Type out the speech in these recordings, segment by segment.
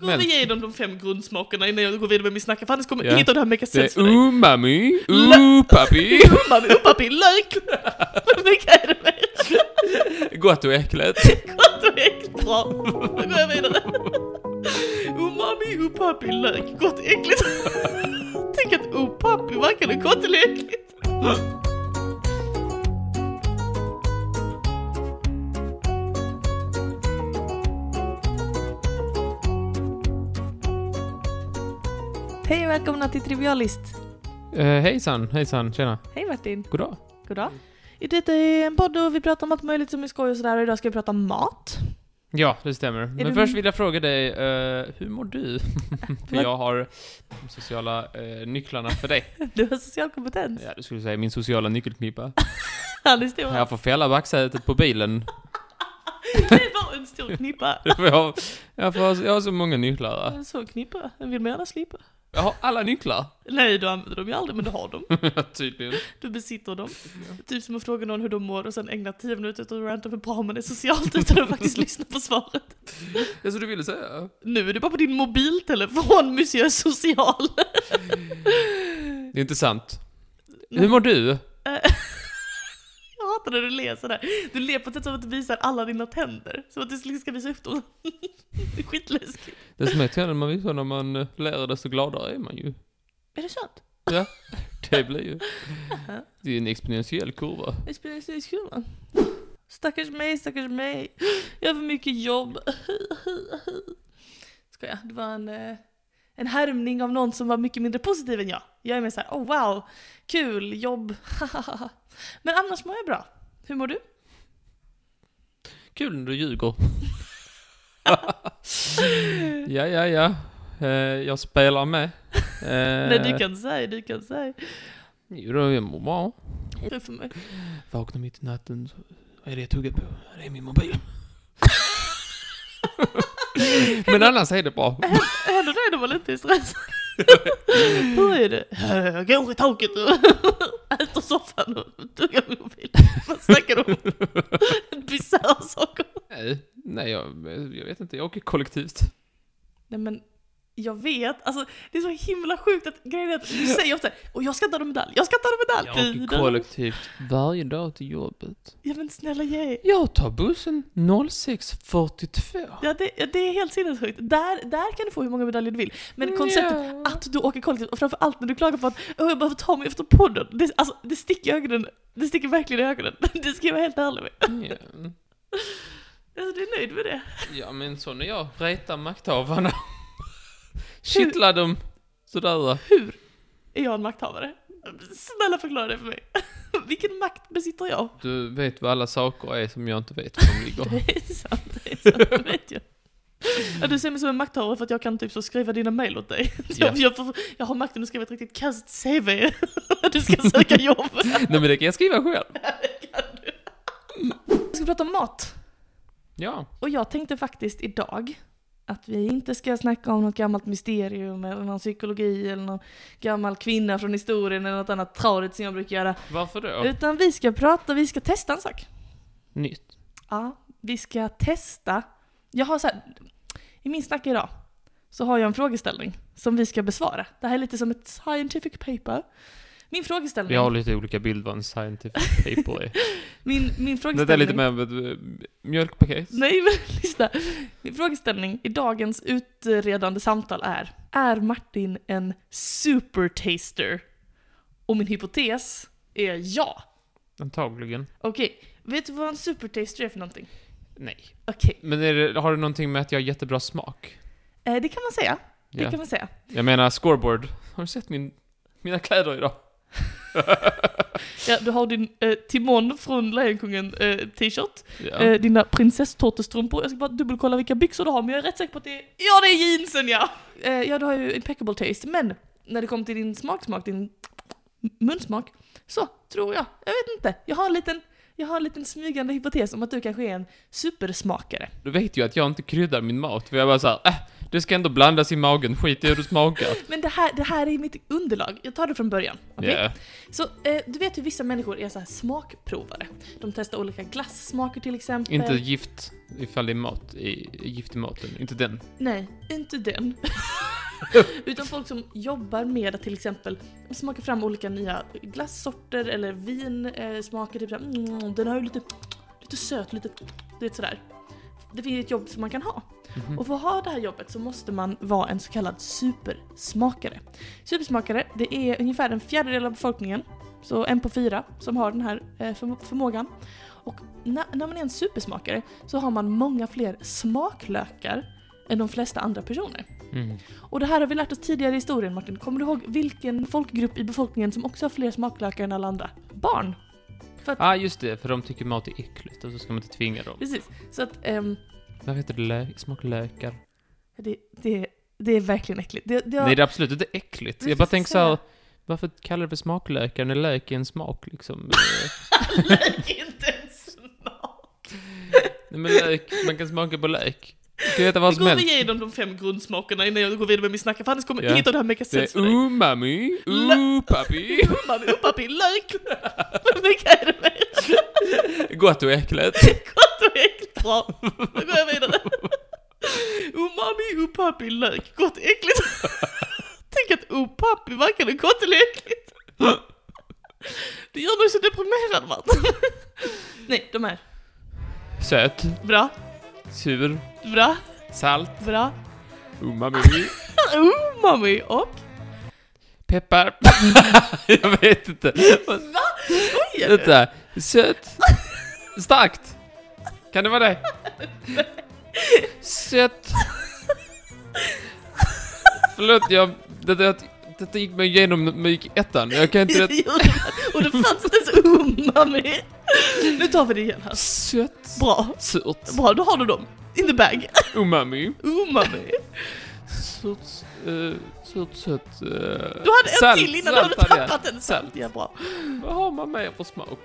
Går vi igenom de fem grundsmakerna innan jag går vidare med min snacka, för annars kommer inget av det här make Det sense för är dig. umami, Lö- upapi, Umami, uppapi, lök! Hur mycket är det mer? gott och äckligt. Gott och äckligt. Bra. Då går jag vidare. Umami, uppapi, oh, lök. Gott, äckligt. Tänk att oh, uppapi verkar är gott eller äckligt. Hej och välkomna till Trivialist. Uh, hejsan, hejsan, tjena. Hej Martin. Goddag. Goddag. Detta är en podd och vi pratar om allt möjligt som är skoj och sådär och idag ska vi prata om mat. Ja, det stämmer. Men du- först vill jag fråga dig, eh, hur mår du? för jag har de sociala eh, nycklarna för dig. Du har social kompetens. Ja, du skulle säga min sociala nyckelknippa. Ja, det står Jag får fälla baksätet på bilen. Det var en stor knippa. jag, får, jag, får, jag har så många nycklar. En sån knippa, den vill man gärna slippa. Jag har alla nycklar. Nej, du använder dem ju aldrig, men du har dem. Tydligen. Du besitter dem. Typ som att fråga någon hur de mår och sen ägna tio minuter åt att ranta hur bra man är socialt utan att faktiskt lyssna på svaret. Det är så du ville säga? Nu är det bara på din mobiltelefon, monsieur social. Det är inte sant. Nej. Hur mår du? Jag hatar när du ler sådär. Du ler på ett sätt som att du visar alla dina tänder. Som att du liksom ska visa upp dem. Det är skitläskigt. Det som är trenden man visar när man eh, ler, desto gladare är man ju. Är det sant? Ja, det blir ju. Det är en exponentiell kurva. Jag spelar i skolan. Stackars mig, stackars mig. Jag har för mycket jobb. Skoja, det var en, eh, en härmning av någon som var mycket mindre positiv än jag. Jag är mer såhär, oh wow, kul, jobb, Men annars mår jag bra. Hur mår du? Kul när du ljuger. ja, ja, ja. Eh, jag spelar med. Eh, Nej, du kan säga, du kan säga. Jo då, jag mår bra. Det är för mig. Vaknar mitt i natten, så, vad är det jag tuggar på? Det är min mobil. Men annars är det bra. Händer det när man inte är stressad? Hur är det? Jag går i taket och äter soffan och tuggar mobilen. Vad snackar du om? Bisarra saker. Nej, Eh, nej jag, jag vet inte. Jag åker kollektivt. Nej men, jag vet. Alltså det är så himla sjukt att grejen är att du säger ofta och jag ska ta en medalj, jag ska ta en Jag medalj. åker kollektivt varje dag till jobbet. Ja men snälla ge. Jag tar bussen 0642. Ja det, ja, det är helt sinnessjukt. Där, där kan du få hur många medaljer du vill. Men konceptet Mm, Ja. att du åker kollektivt och framförallt när du klagar på att "Åh, jag behöver ta mig efter podden. Det, alltså, det sticker i ögonen. Det sticker verkligen i ögonen. Det ska jag vara helt ärlig med. Ja. Alltså du är nöjd med det? Ja, men så när jag retar makthavarna. Kittlar dem sådär. Hur är jag en makthavare? Snälla förklara det för mig. Vilken makt besitter jag? Du vet vad alla saker är som jag inte vet var de ligger. Det är sant, det är sant, det vet jag. Ja, du ser mig som en makthavare för att jag kan typ så skriva dina mejl åt dig. Jag, jag, får, jag har makten att skriva ett riktigt kasst CV när du ska söka jobb. Nej, men det kan jag skriva själv. Vi ska prata om mat. Ja. Och jag tänkte faktiskt idag att vi inte ska snacka om något gammalt mysterium eller någon psykologi eller någon gammal kvinna från historien eller något annat tradigt som jag brukar göra. Varför då? Utan vi ska prata, vi ska testa en sak. Nytt. Ja, vi ska testa. Jag har så här, i min snack idag så har jag en frågeställning som vi ska besvara. Det här är lite som ett scientific paper. Min frågeställning. Vi har lite olika bild vad en scientific paper är. Min, min frågeställning. Det är lite mer av ett eh, mjölkpaket. Nej men lyssna. Min frågeställning i dagens utredande samtal är, är Martin en supertaster? Och min hypotes är ja. Antagligen. Okej, vet du vad en supertaster är för någonting? Nej. Okej, Men är det, har det någonting med att jag har jättebra smak? eh, det kan man säga. Det Ja. kan man säga. Jag menar scoreboard. Har du sett min, mina kläder idag? Ja, du har din eh, Timon från Lejonkungen eh, t-shirt, Ja. eh, dina prinsesstårtestrumpor. Jag ska bara dubbelkolla vilka byxor du har, men jag är rätt säker på att det är... Ja, det är jeansen ja! Eh, ja, du har ju impeccable taste, men när det kommer till din smaksmak, din munsmak, så tror jag, jag vet inte, jag har en liten... jag har en liten smygande hypotes om att du kanske är en supersmakare. Du vet ju att jag inte kryddar min mat, för jag bara såhär, äh, det ska ändå blandas i magen, skit i hur du smakar. Men det här, det här är mitt underlag, jag tar det från början. okej? Ja. Så eh, du vet hur vissa människor är så här smakprovare. De testar olika glassmaker till exempel. Inte gift, ifall det är mat, i, gift i maten, inte den. Nej, inte den. Utan folk som jobbar med att till exempel smaka fram olika nya glassorter eller vinsmaker. Typ såhär, mm, den har ju lite, lite söt, lite, du vet sådär. Det finns ett jobb som man kan ha. Mhm. Och för att ha det här jobbet så måste man vara en så kallad supersmakare. Supersmakare, det är ungefär en fjärdedel av befolkningen, så en på fyra, som har den här eh, förm- förmågan. Och na- när man är en supersmakare så har man många fler smaklökar än de flesta andra personer. Mm. Och det här har vi lärt oss tidigare i historien Martin. Kommer du ihåg vilken folkgrupp i befolkningen som också har fler smaklökar än alla andra? Barn! Ah, just det, för de tycker mat är äckligt och så ska man inte tvinga dem. Precis. Så att ehm, Varför heter det lö- smak lökar? det, det, det är verkligen äckligt. Det, det har- Nej, det är absolut inte äckligt. Precis, Jag bara tänker så är såhär, varför kallar du det för smaklökar när lök är en smak liksom? Eh, Lök är inte en smak. Nej men lök, man kan smaka på lök. Du kan äta vad Vi som går helst. vi igenom de fem grundsmakerna innan jag går vidare med min snacka, för annars kommer Ja. inget av det här make Det sense är för dig. umami, Lö- upapi. Umami, uppapi, lök! Vilka är det mer? Gott och äckligt. Gott och äckligt. Bra, då går jag vidare. Oh, Umami, uppapi, lök. Gott och äckligt. Tänk att oh, uppapi varken är gott eller äckligt. Det gör mig så deprimerad Martin. Nej, de här. Söt, Bra, sur, bra, salt, bra. umami, Umami och... peppar. Jag vet inte. Va? Skojar du? Vänta. Sött. Starkt. Kan det vara det? Sött. Förlåt, jag... Detta, detta gick mig igenom när jag gick i ettan. Jag kan inte... Jo, det var- Och det fanns inte ens umami. Nu tar vi det igen här. Sött. Bra. Surt. Bra, då har du dem. In the bag. Oh, Umami. Umami. Surt, eh, surt, sött. eh, Du hade en salt, till innan, salt du hade hade jag. tappat en. Salt. Salt. Ja, bra. Vad har man mer för smak?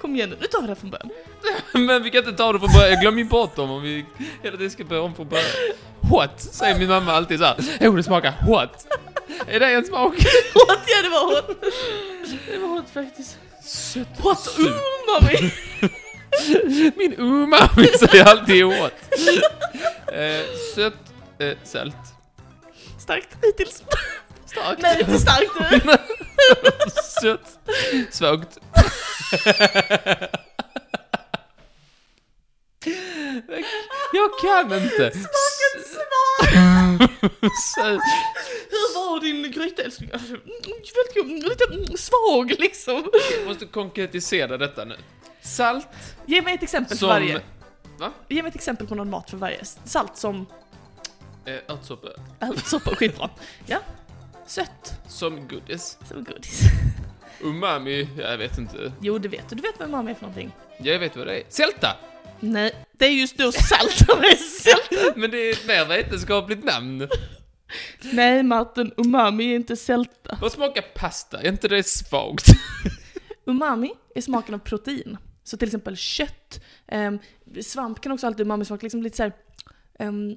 Kom igen nu, nu tar vi det från början. Men vi kan inte ta det från början, jag glömmer ju bort dem om vi hela tiden ska börja om från början. Hot, säger min mamma alltid såhär. Jo, det smakar hot. Är det en smak? Hot, ja det var hot. Det var hot faktiskt. Sött. Hot umami. Min umami säger alltid hot. Eh, sött, eh, salt. Starkt hittills. Starkt. Nej, inte starkt nu. Sött. Svagt. Jag kan inte. Smaken svag. Sö- Hur var din gryta älskling? Alltså, mm, Väldigt god, mm, lite mm, svag liksom. Jag måste konkretisera detta nu. Salt Ge mig ett exempel för som... varje. Va? Ge mig ett exempel på någon mat för varje. Salt som Eh, Örtsoppa. ärtsoppa och skitbra. Ja. Sött Som godis. som godis. Umami, jag vet inte. Jo, det vet du. Du vet vad umami är för någonting. Jag vet vad det är. Sälta! Nej, det är just då salt som är sälta. Men det är ett mer vetenskapligt namn. Nej, Martin, umami är inte sälta. Vad smakar pasta? Är inte det svagt? Umami är smaken av protein. Så till exempel kött, ehm, svamp kan också alltid umami-smak. Liksom lite såhär um,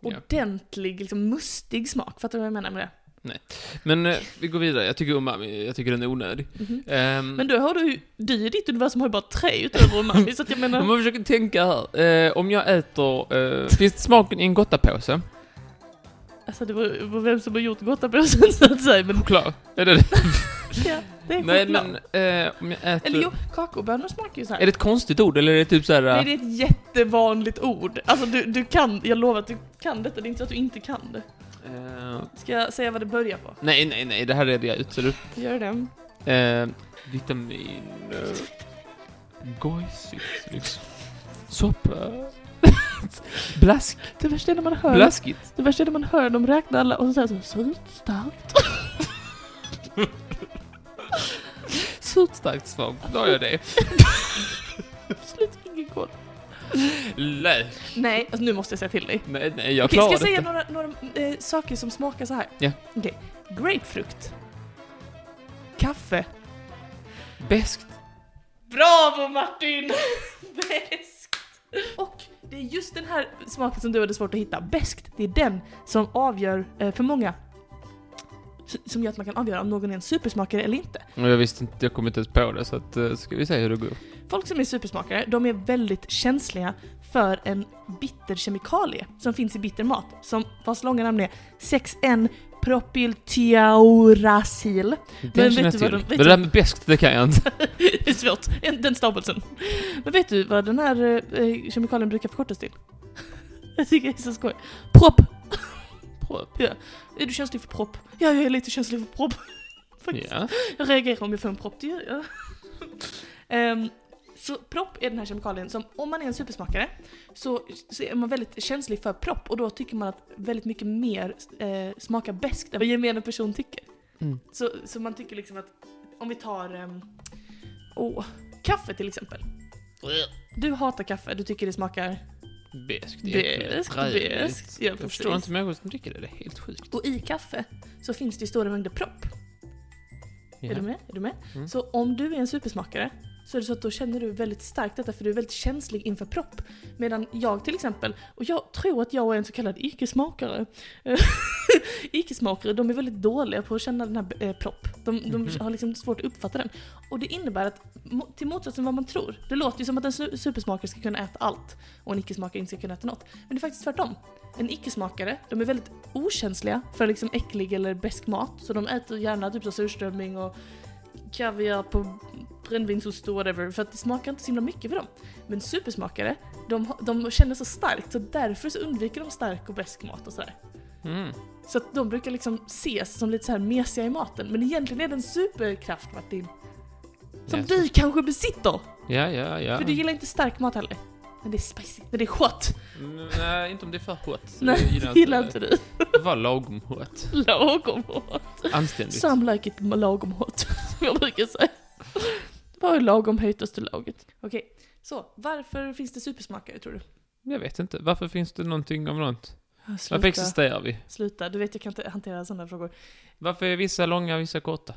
Ja. ordentlig, liksom mustig smak. Fattar du vad jag menar med det? Men eh, vi går vidare. Jag tycker umami, jag tycker den är onödig. Mhm. Ehm, Men då har du ju, du i ditt universum har ju bara tre utöver umami, så att jag om menar... man försöker tänka här. Eh, om jag äter... Eh, finns smaken i en gottapåse? Alltså det beror på vem som har gjort gottapåsen så att säga, men Choklad? Är det det? ja, det är Nej, choklad. men eh, om jag äter... Eller jo, kakaobönor smakar ju så här. Är det ett konstigt ord eller är det typ såhär... Nej, det är ett jättevanligt ord. Alltså du, du kan, jag lovar att du kan detta, det är inte så att du inte kan det. Eh, Ska jag säga vad det börjar på? nej, nej, nej, det här reder jag ut. Ser du? Gör det. Eh, vitamin... Eh, Gojsigt, liksom. Soppa. Blask. Det värsta är när man hör, Blaskigt. det värsta är när man hör dem räkna alla och så säger så surt, starkt. Surt, starkt, svagt. Då har jag det. Slut, ingen koll. Lök. Nej, alltså, nu måste jag säga till dig. Nej, nej, jag Okej, ska klarar jag säga detta. några, några eh, saker som smakar så här? Ja. Okej. Grapefrukt. Kaffe. Bäst. Bravo Martin! Bäst! Och det är just den här smaken som du hade svårt att hitta. Bäst, det är den som avgör eh, för många. S- Som gör att man kan avgöra om någon är en supersmakare eller inte. Och jag visste inte, jag kom inte ens på det så att, eh, ska vi se hur det går. Folk som är supersmakare, de är väldigt känsliga för en bitterkemikalie som finns i bittermat, som vars långa namn är 6N propyltiauracil. Den vet känner du jag vad de- vet till. Men du- det där med beskt, det kan jag inte. Det är svårt, En- den stavelsen. Men vet du vad den här eh, eh, kemikalien brukar förkortas till? Jag tycker det är så skoj. Propp! Propp, ja. Är du känslig för propp? Ja, jag är lite känslig för propp. Faktiskt. Ja. Jag reagerar om jag får en propp, det gör jag. Ehm, så propp är den här kemikalien som, om man är en supersmakare, så, så är man väldigt känslig för propp och då tycker man att väldigt mycket mer eh, smakar beskt än vad gemene person tycker. Mm. Så, så man tycker liksom att, om vi tar, ehm, åh, kaffe till exempel. Du hatar kaffe, du tycker det smakar... Beskt, Beskt, beskt, ja, Jag förstår precis. inte människor som dricker det, det är helt sjukt. Och i kaffe så finns det ju stora mängder propp. Ja. Är du med? Är du med? Mm. Så om du är en supersmakare så är det så att då känner du väldigt starkt detta för du är väldigt känslig inför propp. Medan jag till exempel, och jag tror att jag är en så kallad icke-smakare. Eh, icke-smakare, de är väldigt dåliga på att känna den här eh, propp. De, de Mhm. har liksom svårt att uppfatta den. Och det innebär att, mo- till motsatsen vad man tror, det låter ju som att en su- supersmakare ska kunna äta allt och en icke-smakare inte ska kunna äta något. Men det är faktiskt tvärtom. En icke-smakare, de är väldigt okänsliga för liksom äcklig eller besk mat. Så de äter gärna typ så surströmming och kaviar på brännvinsost och whatever. För att det smakar inte så himla mycket för dem. Men supersmakare, de, har- de känner så starkt så därför så undviker de stark och besk mat och sådär. Mm. Så att de brukar liksom ses som lite så här mesiga i maten. Men egentligen är det en superkraft Martin. Som Ja, du kanske besitter! Ja, ja, ja. För du gillar inte stark mat heller. Men det är spicy, men det är hot! Mm, Nej, inte om det är för hot. Jag Nej, det gillar inte du. Det var lagom hot. Lagom hot. Anständigt. Some like it lagom hot, som jag brukar säga. Vad är lagom hetaste laget? Okej, så varför finns det supersmakare tror du? Jag vet inte, varför finns det någonting om något? Varför Sluta, existerar vi? sluta. Du vet jag kan inte hantera sådana frågor. Varför är vissa långa, vissa korta?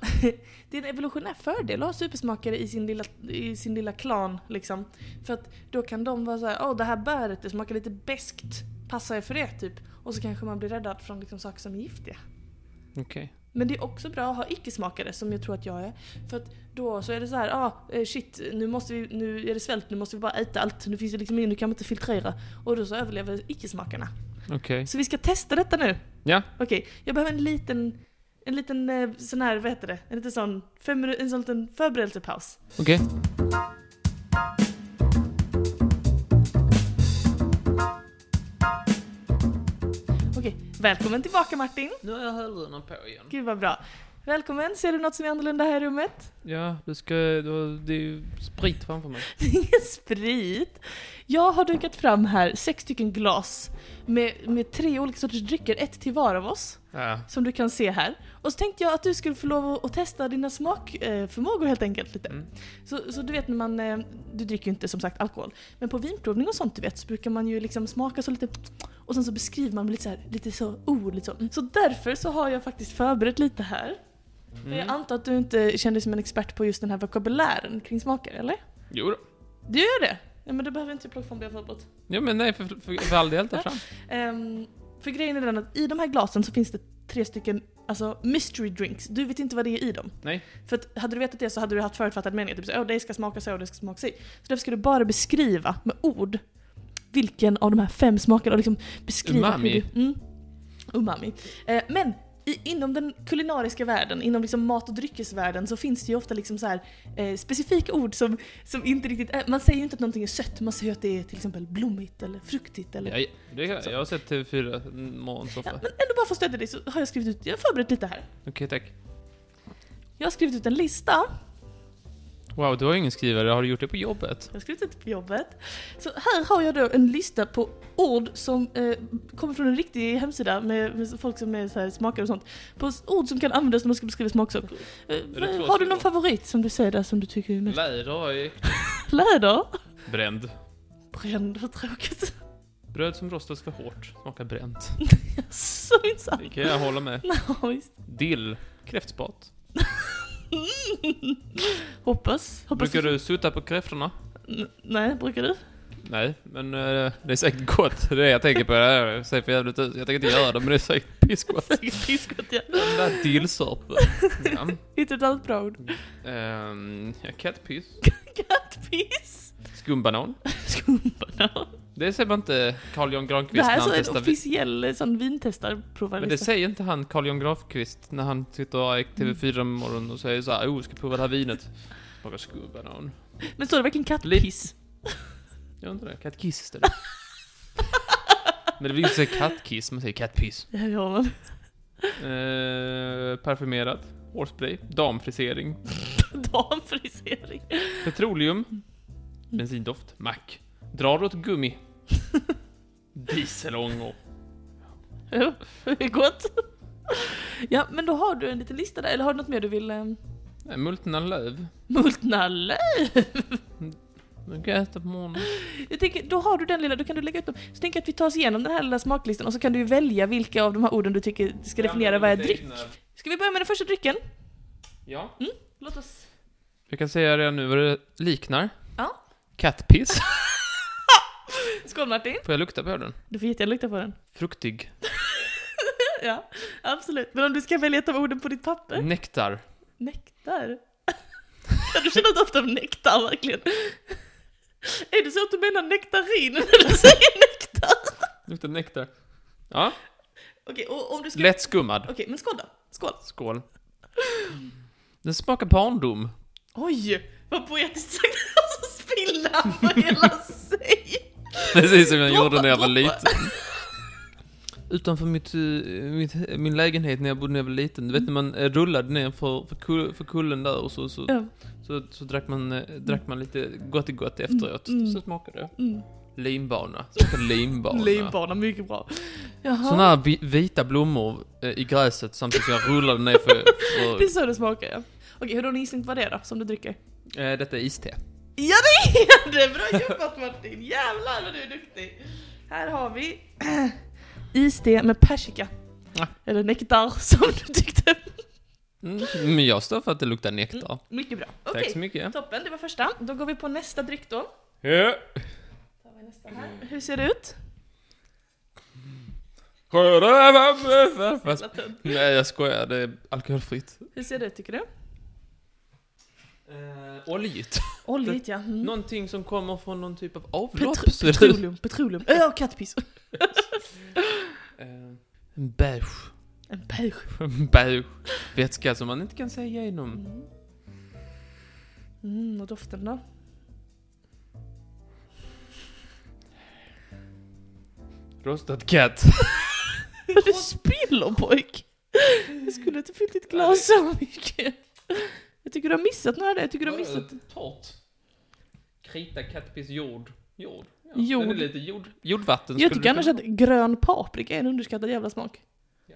Det är en evolutionär fördel att ha supersmakare i sin lilla, i sin lilla klan liksom. För att då kan de vara såhär, åh det här bäret det smakar lite beskt. passar jag för det typ? Och så kanske man blir räddad från liksom, saker som är giftiga. Okej. Men det är också bra att ha icke-smakare som jag tror att jag är. För att då så är det så här, ah eh, shit nu måste vi, nu är det svält, nu måste vi bara äta allt. Nu finns det liksom ingen, nu kan man inte filtrera. Och då så överlever icke-smakarna. Okej. Så vi ska testa detta nu. Ja. Okej, jag behöver en liten, en liten eh, sån här, vad heter det? En liten sån, fem minuter, en sån liten förberedelsepaus. Okej. Okej, välkommen tillbaka Martin. Nu har jag hörlurarna på igen. Gud vad bra. Välkommen, ser du något som är annorlunda här i rummet? Ja, du ska... Du, har- det är ju sprit framför mig. Det är ingen sprit. Jag har dukat fram här sex stycken glas med, med tre olika sorters drycker, ett till var av oss, Ja. som du kan se här. Och så tänkte jag att du skulle få lov att- att testa dina smakförmågor helt enkelt lite. Mm. Så, så du vet när man, eh, du dricker ju inte som sagt alkohol, men på vinprovning och sånt du vet så brukar man ju liksom smaka så lite och sen så beskriver man med lite så här, lite så ord lite så. Så därför så har jag faktiskt förberett lite här. För jag Mm. antar att du inte känner dig som en expert på just den här vokabulären kring smaker, eller? Jo då. Du gör det? Ja, men du behöver inte plocka från det jag förberett. Ja, men nej, för, för, för all del, ta fram. Ehm, för grejen är den att i de här glasen så finns det tre stycken alltså mystery drinks. Du vet inte vad det är i dem. Nej. För att hade du vetat det så hade du haft förutfattad mening. Typ så, åh det ska smaka så, det ska smaka så. Så därför ska du bara beskriva med ord vilken av de här fem smakerna och liksom beskriva hur Umami. du... Mm, umami. Eh, men i, inom den kulinariska världen, inom liksom mat och dryckesvärlden så finns det ju ofta liksom så här, eh, specifika ord som, som inte riktigt är... Man säger ju inte att någonting är sött, man säger ju att det är till exempel blommigt eller fruktigt eller... Ja, ja, det kan, jag har sett TV4 Ja, morgonsoffa. men ändå bara för att stödja dig så har jag skrivit ut, jag har förberett lite här. Okej, tack. Jag har skrivit ut en lista, Wow, du har ju ingen skrivare. Har du gjort det på jobbet? jag har skrivit ut det på jobbet. Så här har jag då en lista på ord som eh, kommer från en riktig hemsida med, med folk som är så här smakare och sånt. På s- ord som kan användas när man ska beskriva smaksaker. Eh, det två har du stycken? någon favorit som du säger där som du tycker är mest? Läder har jag ju. Läder? Bränd. Bränd, vad tråkigt. Bröd som rostas för hårt smakar bränt. Så inte sant. Det kan jag hålla med. Ja, visst. Dill. Kräftspat. Hoppas. Hoppas Brukar du sutta på kräftorna? N- Nej, brukar du? Nej, men eh, det är säkert gott. Det är det jag tänker på. Det här ser för jävligt ut. Jag tänker inte göra det, men det är säkert pissgott. Säkert piskott, ja. Den där dillsörpen. Ja. Inte ett annat bra ord. Ehm, ja, kattpiss. Kattpiss! Skumbanan. Skumbanan. Det säger man inte Carl Jan Det Granqvist här när är så han en testar vi- officiell eh, sån Men det vinstestarprovarlista. säger inte han Carl Jan Granqvist när han sitter i TV4 Mm. om morgonen och säger så här, oh, ska prova det här vinet. Bara skumbanan. Men står det verkligen kattpiss? Gör inte det? Kattkiss istället. Men det vill inte säga kattkiss, man säger kattpiss. Det här gör man. Eh, parfymerat. Horseplay. Damfrisering. Damfrisering. Petroleum. Bensindoft. Mack. Drar åt gummi. Dieselångor. Ja, det är gott. Ja, men då har du en liten lista där, eller har du något mer du vill... Eh, Nej, Multna löv. multnalle? Nu kan jag äta på morgonen. Jag tänker, då har du den lilla, då kan du lägga ut dem. Så tänker jag att vi tar oss igenom den här lilla smaklistan och så kan du ju välja vilka av de här orden du tycker ska definiera vad är dryck. Ska vi börja med den första drycken? Ja. Låt oss... Vi kan säga redan nu vad det liknar. Ja. Kattpiss. Skål Martin! Får jag lukta på den? Du får jättegärna lukta på den. Fruktig. Ja, absolut. Men om du ska välja ett av orden på ditt papper? Nektar. Nektar? Har du känner ofta av nektar verkligen? Är det så att du menar nektarin när du säger nektar? Luktar nektar. Ja. Okej, och om du ska... Lätt skummad. Okej, men skål då. Skål. Skål. Mm. Den smakar barndom. Oj, vad poetiskt sagt. Och så spiller han på hela sig. Precis som jag gjorde när jag Droppa, var liten. Utanför mitt, eh, mitt, min lägenhet när jag bodde när jag var liten, du vet när man eh, rullade ner för, för, kull, för kullen där och så, så, Ja. så, så drack, man, eh, drack man lite gott i gott efteråt. Mm. Så smakade det. Mm. Limbana. Smakar limbana. Livbana, mycket bra. Jaha, Sådana här vi- vita blommor eh, i gräset samtidigt som jag rullade ner för... det är för så det smakar ja. Okej, hur har ni gissning på vad det är då, som du dricker? eh, detta är iste. Ja det är det! Bra jobbat Martin! Jävlar vad du är duktig! Här har vi iste med persika. Ja. Eller nektar som du tyckte. Mm. Men jag står för att det luktar nektar. Mycket bra. Tack Mm, Okej, så mycket. toppen. Det var första. Då går vi på nästa dryck då. Ja. Tar vi nästa här. Hur ser det ut? Fast- Nej jag skojar, det är alkoholfritt. Hur ser det ut tycker du? Eh, oljigt. Oljigt ja. Mm. Någonting som kommer från någon typ av avlopp. så Petro- är det- petroleum, petroleum. Ö och kattpiss. Eh, en beige. En beige. En beige vätska som man inte kan se igenom. Mm. Mm, och doften då? Rostad katt. Vad du spiller pojk! Jag skulle inte fyllt ditt glas så mycket. Jag tycker du har missat några där, jag tycker du har missat... Torrt. Krita kattpiss jord. Jord. Ja, Jord. Den är lite jord. Jordvatten Jag skulle tycker du annars att grön paprika är en underskattad jävla smak. kunna-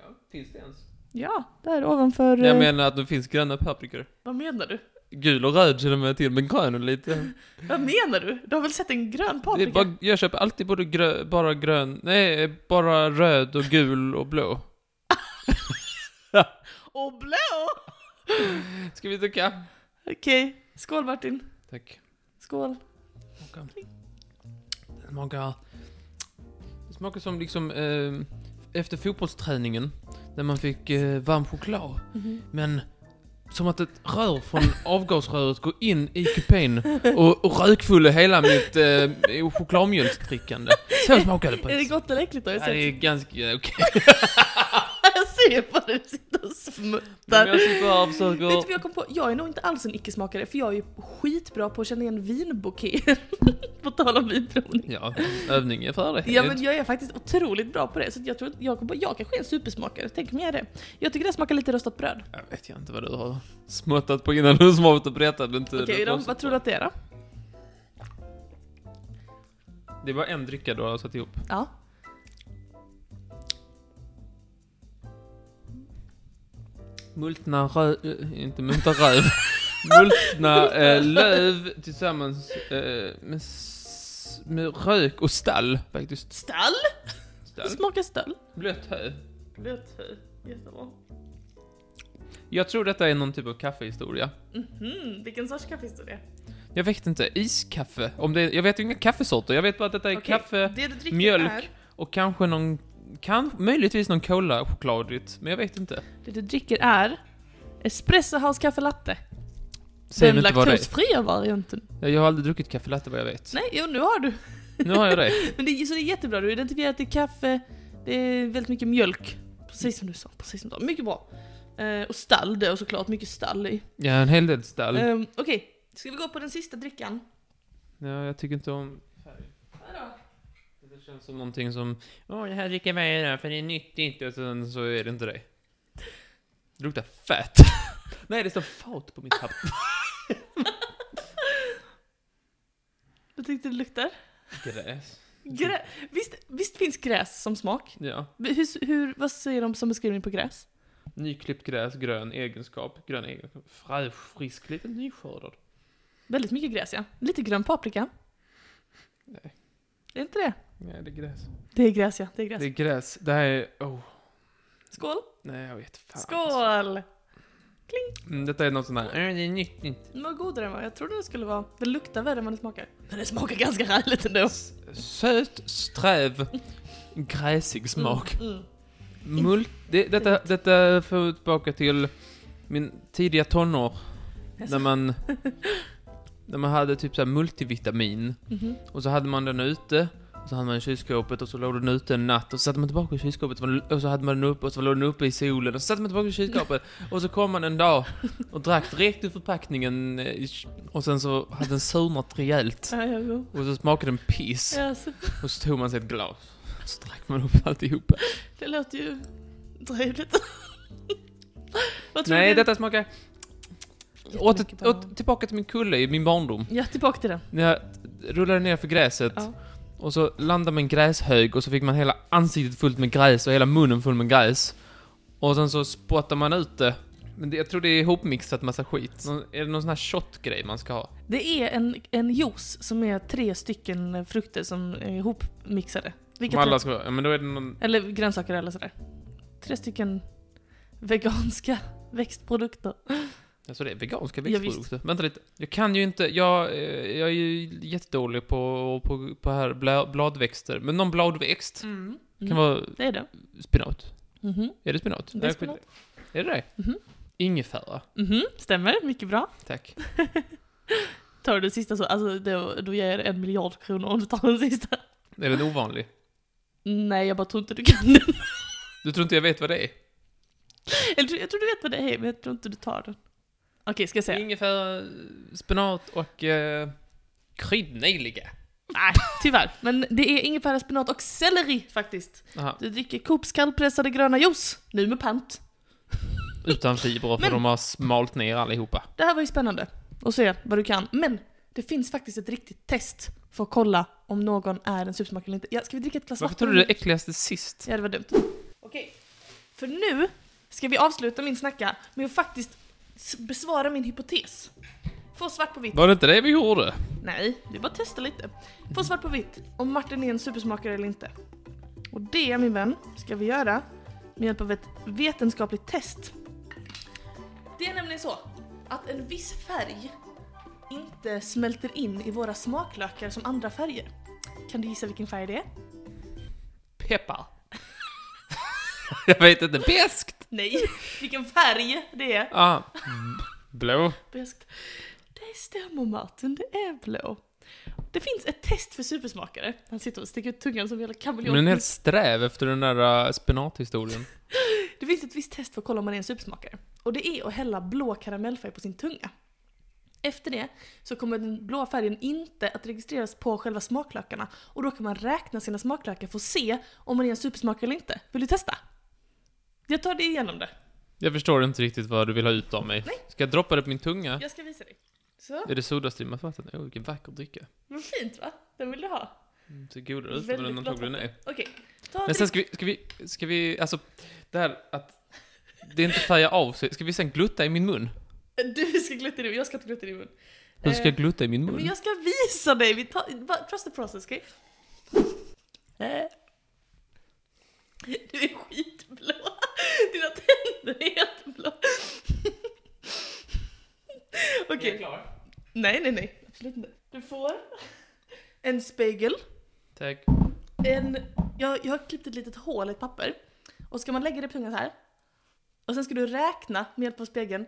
Ja, finns det ens? Ja, där ovanför... Jag eh, menar att det finns gröna paprikor. Vad menar du? Gul och röd känner jag till, men grön och lite... Vad menar du? Du har väl sett en grön Det är paprika? bara, jag köper alltid både grö, bara grön, nej, bara röd och gul och blå. Och blå! Ska vi dricka? Okej, skål Martin. Tack. Skål. Det smakar... Det smakar som liksom eh, efter fotbollsträningen, när man fick eh, varm choklad. Mhm. Men som att ett rör från avgasröret går in i kupén och, och rökfyller hela mitt eh, chokladmjölksdrickande. Så smakade det på Är det gott eller äckligt då? Jag Ja, det är ser, ganska okej. jag ser på dig, du sitter och Men smuttar. jag sitter här och Vet du vad försöker... jag kom på? Jag är nog inte alls en icke-smakare, för jag är ju skitbra på att känna igen vinbuketter. på tal om vinprovning. Ja, övning är färdig. Ja men jag är faktiskt otroligt bra på det, så att jag tror att jag, kommer- jag kanske är en supersmakare, tänk om jag är det. Jag tycker det smakar lite rostat bröd. Jag vet jag inte vad du har smuttat på innan du som har varit och berättat. men inte- Okej, då, vad tror du att det är då? Det var en dricka du har satt ihop. Ja. Multna röv... eh, Inte multna röv. multna eh, löv tillsammans eh, med, s- med rök och stall faktiskt. Stall? Stall. Smakar stall. Blött hö. Blöt hö. Jättebra. Jag tror detta är någon typ av kaffehistoria. Mhm, vilken sorts kaffehistoria? Jag vet inte, iskaffe? Om det, är- jag vet inga kaffesorter, jag vet bara att detta är Okej, kaffe det du dricker mjölk. Är, och kanske någon, kan, möjligtvis någon cola chokladigt, men jag vet inte. det du dricker är espresso house kaffe latte. Säg den mig inte vad det är. laktosfria varianten. Ja, Jag har aldrig druckit kaffe latte vad jag vet. Nej, jo nu har du. Nu har jag det. Men det, är- så det är jättebra, du har identifierat det är kaffe, det är väldigt mycket mjölk. Precis som du sa, precis som du sa. Mycket bra. Eh, och stall då såklart, mycket stall i. Ja, en hel del stall. Eh, Okej, ska vi gå på den sista drickan? Ja, jag tycker inte om Det känns som någonting som, åh det här dricker jag varje dag för det är nyttigt och sen så är det inte det. Det luktar fett. Nej, det står fat på mitt papper. Vad tyckte du det luktar? Gräs. Grä- visst, visst finns gräs som smak? Ja. Hur, hur, vad säger de som beskrivning på gräs? Nyklippt gräs, grön egenskap, grön egenskap. Fräsch, frisk, lite nyskördad. Väldigt mycket gräs ja. Lite grön paprika. Nej. Är inte det? Nej, det är gräs. Det är gräs ja, det är gräs. Det är gräs. Det här är, oh, Skål! nej jag vet fan. Skål! Mm, detta är något sånt här, "Äh, det är nyttigt. Den var godare än vad jag trodde den skulle vara. Den luktar värre än vad den smakar. Men den smakar ganska härligt ändå. Söt, sträv, gräsig smak. Mm. Mult, det, detta, detta får tillbaka till min tidiga tonår. När man, när man hade typ så här multivitamin. Mhm. Och så hade man den ute. Och så hade man den i kylskåpet och så låg den ute en natt. Och så satte man tillbaka i kylskåpet och var- och så hade man den uppe och så låg den uppe i solen. Och så satte man tillbaka i kylskåpet. Och så kom man en dag och drack direkt ur förpackningen. eh, i k- Och sen så hade den surnat rejält. Ja, ja, jo. Och så smakade den piss. Yes. Och så tog man sig ett glas. Och så drack man upp alltihopa. Det låter ju trevligt. vad tror Nej, du? detta smakar... Åter, Jättemycket banan. åter, tillbaka till min kulle i min barndom. Ja, tillbaka till den. När jag rullade ner för gräset Ja. och så landade man i en gräshög och så fick man hela ansiktet fullt med gräs och hela munnen full med gräs. Och sen så spottar man ut det. Men det, jag tror det är ihopmixat massa skit. Någon, är det någon sån här shot-grej man ska ha? Det är en, en juice som är tre stycken frukter som är ihopmixade. Som Vilket alla ska, ja, men då är det någon... Eller grönsaker eller sådär. Tre stycken veganska växtprodukter. Alltså det är veganska Ja, visst. växtprodukter. Vänta lite. Jag kan ju inte... Jag, eh, jag är ju jättedålig på, på, på här bla, bladväxter. Men någon bladväxt Mm. kan vara Det är det. spinat. Mhm. Är det spenat? Det är Nej, spenat. skit- Är det det? Mhm. Ingefära. Mhm. Stämmer, mycket bra. Tack. Tar du det sista så, alltså då, då ger jag er en miljard kronor om du tar den sista. Är den ovanlig? Nej, jag bara tror inte du kan den. Du tror inte jag vet vad det är? Eller jag tror du vet vad det är, men jag tror inte du tar den. Okej, ska jag säga? Ingefära, spenat och eh, kryddnejlika. Nej, tyvärr. Men det är ingefära, spenat och selleri faktiskt. Aha, Du dricker Coops kallpressade gröna juice, nu med pant. utan fibrer för Men- de har smalt ner allihopa. Det här var ju spännande att se vad du kan. Men det finns faktiskt ett riktigt test för att kolla om någon är en supersmak eller inte. Ja, ska vi dricka ett glas Varför vatten? tror du det äckligaste sist? Ja, det var dumt. Okej, för nu ska vi avsluta min snacka med att faktiskt s- besvara min hypotes. Få svart på vitt. Var det inte det vi gjorde? Nej, vi bara testar lite. Få svart på vitt om Martin är en supersmakare eller inte. Och det, min vän, ska vi göra med hjälp av ett vetenskapligt test. Det är nämligen så att en viss färg inte smälter in i våra smaklökar som andra färger. Kan du gissa vilken färg det är? Peppar. jag vet inte. Beskt! Nej, vilken färg det är! Ah. Blå. Bäst. Det stämmer Martin, det är blå. Det finns ett test för supersmakare. Han sitter och sticker ut tungan som en jävla kameleont. Men en hel sträv efter den där eh, spenathistorien. Det finns ett visst test för att kolla om man är en supersmakare. Och det är att hälla blå karamellfärg på sin tunga. Efter det så kommer den blå färgen inte att registreras på själva smaklökarna och då kan man räkna sina smaklökar för att se om man är en supersmakare eller inte. Vill du testa? Jag tar dig igenom det. Jag förstår inte riktigt vad du vill ha ut av mig. Ska jag droppa det på min tunga? Jag ska visa dig. Så, Är det sodastrimmat vatten? Åh, vilken vacker dricka. vad fint va? Den vill du ha? Det Mm, ser godare ut Väldigt än den glatt antagligen är. Okej, ta Men sen ska vi, ska vi, ska vi, alltså, det här att det inte färgar av sig. Ska vi sen glutta i min mun? drick- Du ska glutta i din mun, jag ska inte glutta i din mun. Hur ska jag Eh, glutta i min Men mun? jag ska visa dig! Vi tar, va- trust the process, okej? Eh. Du är skitblå! Dina tänder är helt blå! Okej. klar. Nej, nej, nej. Absolut inte. Du får en spegel. Tack. En, jag, jag har klippt ett litet hål i ett papper. Och ska man lägga det på tungan så här. Och sen ska du räkna med hjälp av spegeln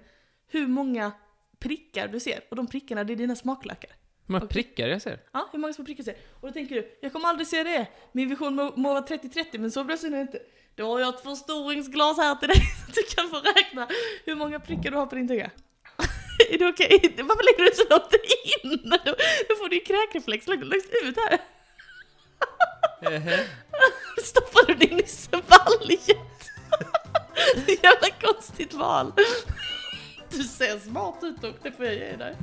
hur många prickar du ser. Och de prickarna, det är dina smaklökar. Hur många Okej. prickar jag ser? Ja, hur många små prickar du ser. Och då tänker du, jag kommer aldrig se det. Min vision må, må vara 30-30, men så bra ser det inte. Då har jag ett förstoringsglas här till dig så att du kan få räkna hur många prickar du har på din tunga. är det okej? Varför lägger du så långt in? Då, då får du ju kräkreflex längst längst ut här. Stoppar du din nisse i valget? Jävla konstigt val. Du ser smart ut och det får jag ge dig.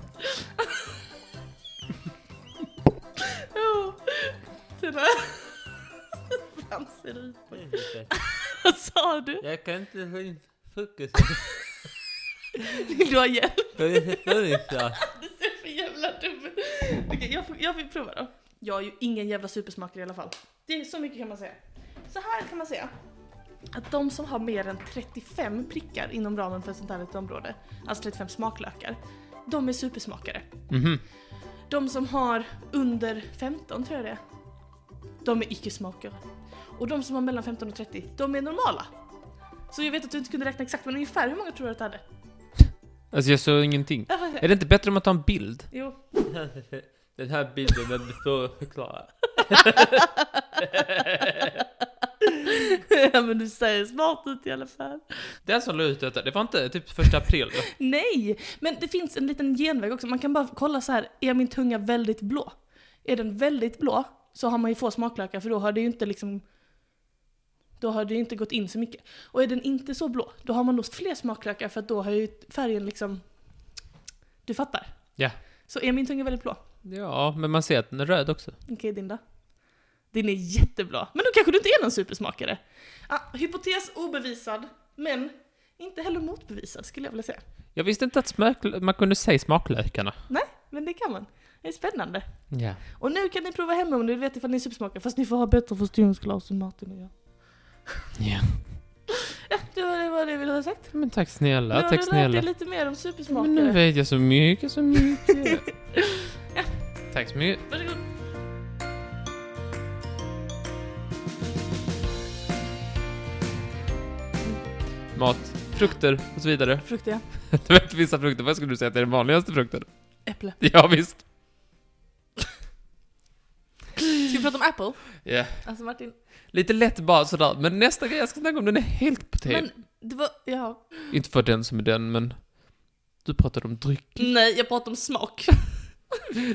Ja, den här... Fan ser du ut på? Vad sa du? Jag kan inte fokusera Vill du ha hjälp? på Du ser för jävla dum ut. Okej, jag, får- jag vill prova då. Jag är ju ingen jävla supersmakare i alla fall. Det är så mycket kan man säga. Så här kan man säga. Att de som har mer än 35 prickar inom ramen för ett sånt här litet område, alltså 35 smaklökar, de är supersmakare. Mhm. De som har under 15 tror jag det är, de är icke-smakare. Och de som har mellan 15 och 30, de är normala. Så jag vet att du inte kunde räkna exakt, men ungefär hur många tror du att du hade? Alltså jag såg ingenting. Är det inte bättre om att ta en bild? Jo, Den här bilden den består att förklara. Ja, men du ser smart ut i alla fall. Den som la ut detta, det var inte typ första april? va? Nej, men det finns en liten genväg också. Man kan bara kolla så här, är min tunga väldigt blå? Är den väldigt blå så har man ju få smaklökar för då har det ju inte liksom då har det ju inte gått in så mycket. Och är den inte så blå, då har man nog fler smaklökar för att då har ju färgen liksom... Du fattar? Ja. Så är min tunga väldigt blå? Ja, men man ser att den är röd också. Okej, din då? Din är jättebra. Men då kanske du inte är någon supersmakare? Ah, hypotes obevisad, men inte heller motbevisad skulle jag vilja säga. Jag visste inte att smak- man kunde säga smaklökarna. Men det kan man. Det är spännande. Ja. Och nu kan ni prova hemma om ni vet ifall ni är supersmakare, fast ni får ha bättre förstoringsglas än Martin och jag. ja. Ja, det var det, var det jag ville ha sagt. Men tack nu snälla, har tack du lärt dig snälla. lite mer om supersmakare. Men nu vet jag så mycket, så mycket. Ja. Tack så mycket. Varsågod. Mat, frukter och så vidare. Frukt ja. Du vet vissa frukter, vad skulle du säga att det är den vanligaste frukten? Äpple. Ja, visst. Ska vi prata om Apple? Ja. Alltså Martin. Typ. Lite lätt bara sådär, men nästa grej jag ska snacka om den är helt på tiden. Men det var, ja. Inte för den som är den, men du pratade om dryck. Nej, jag pratade om smak.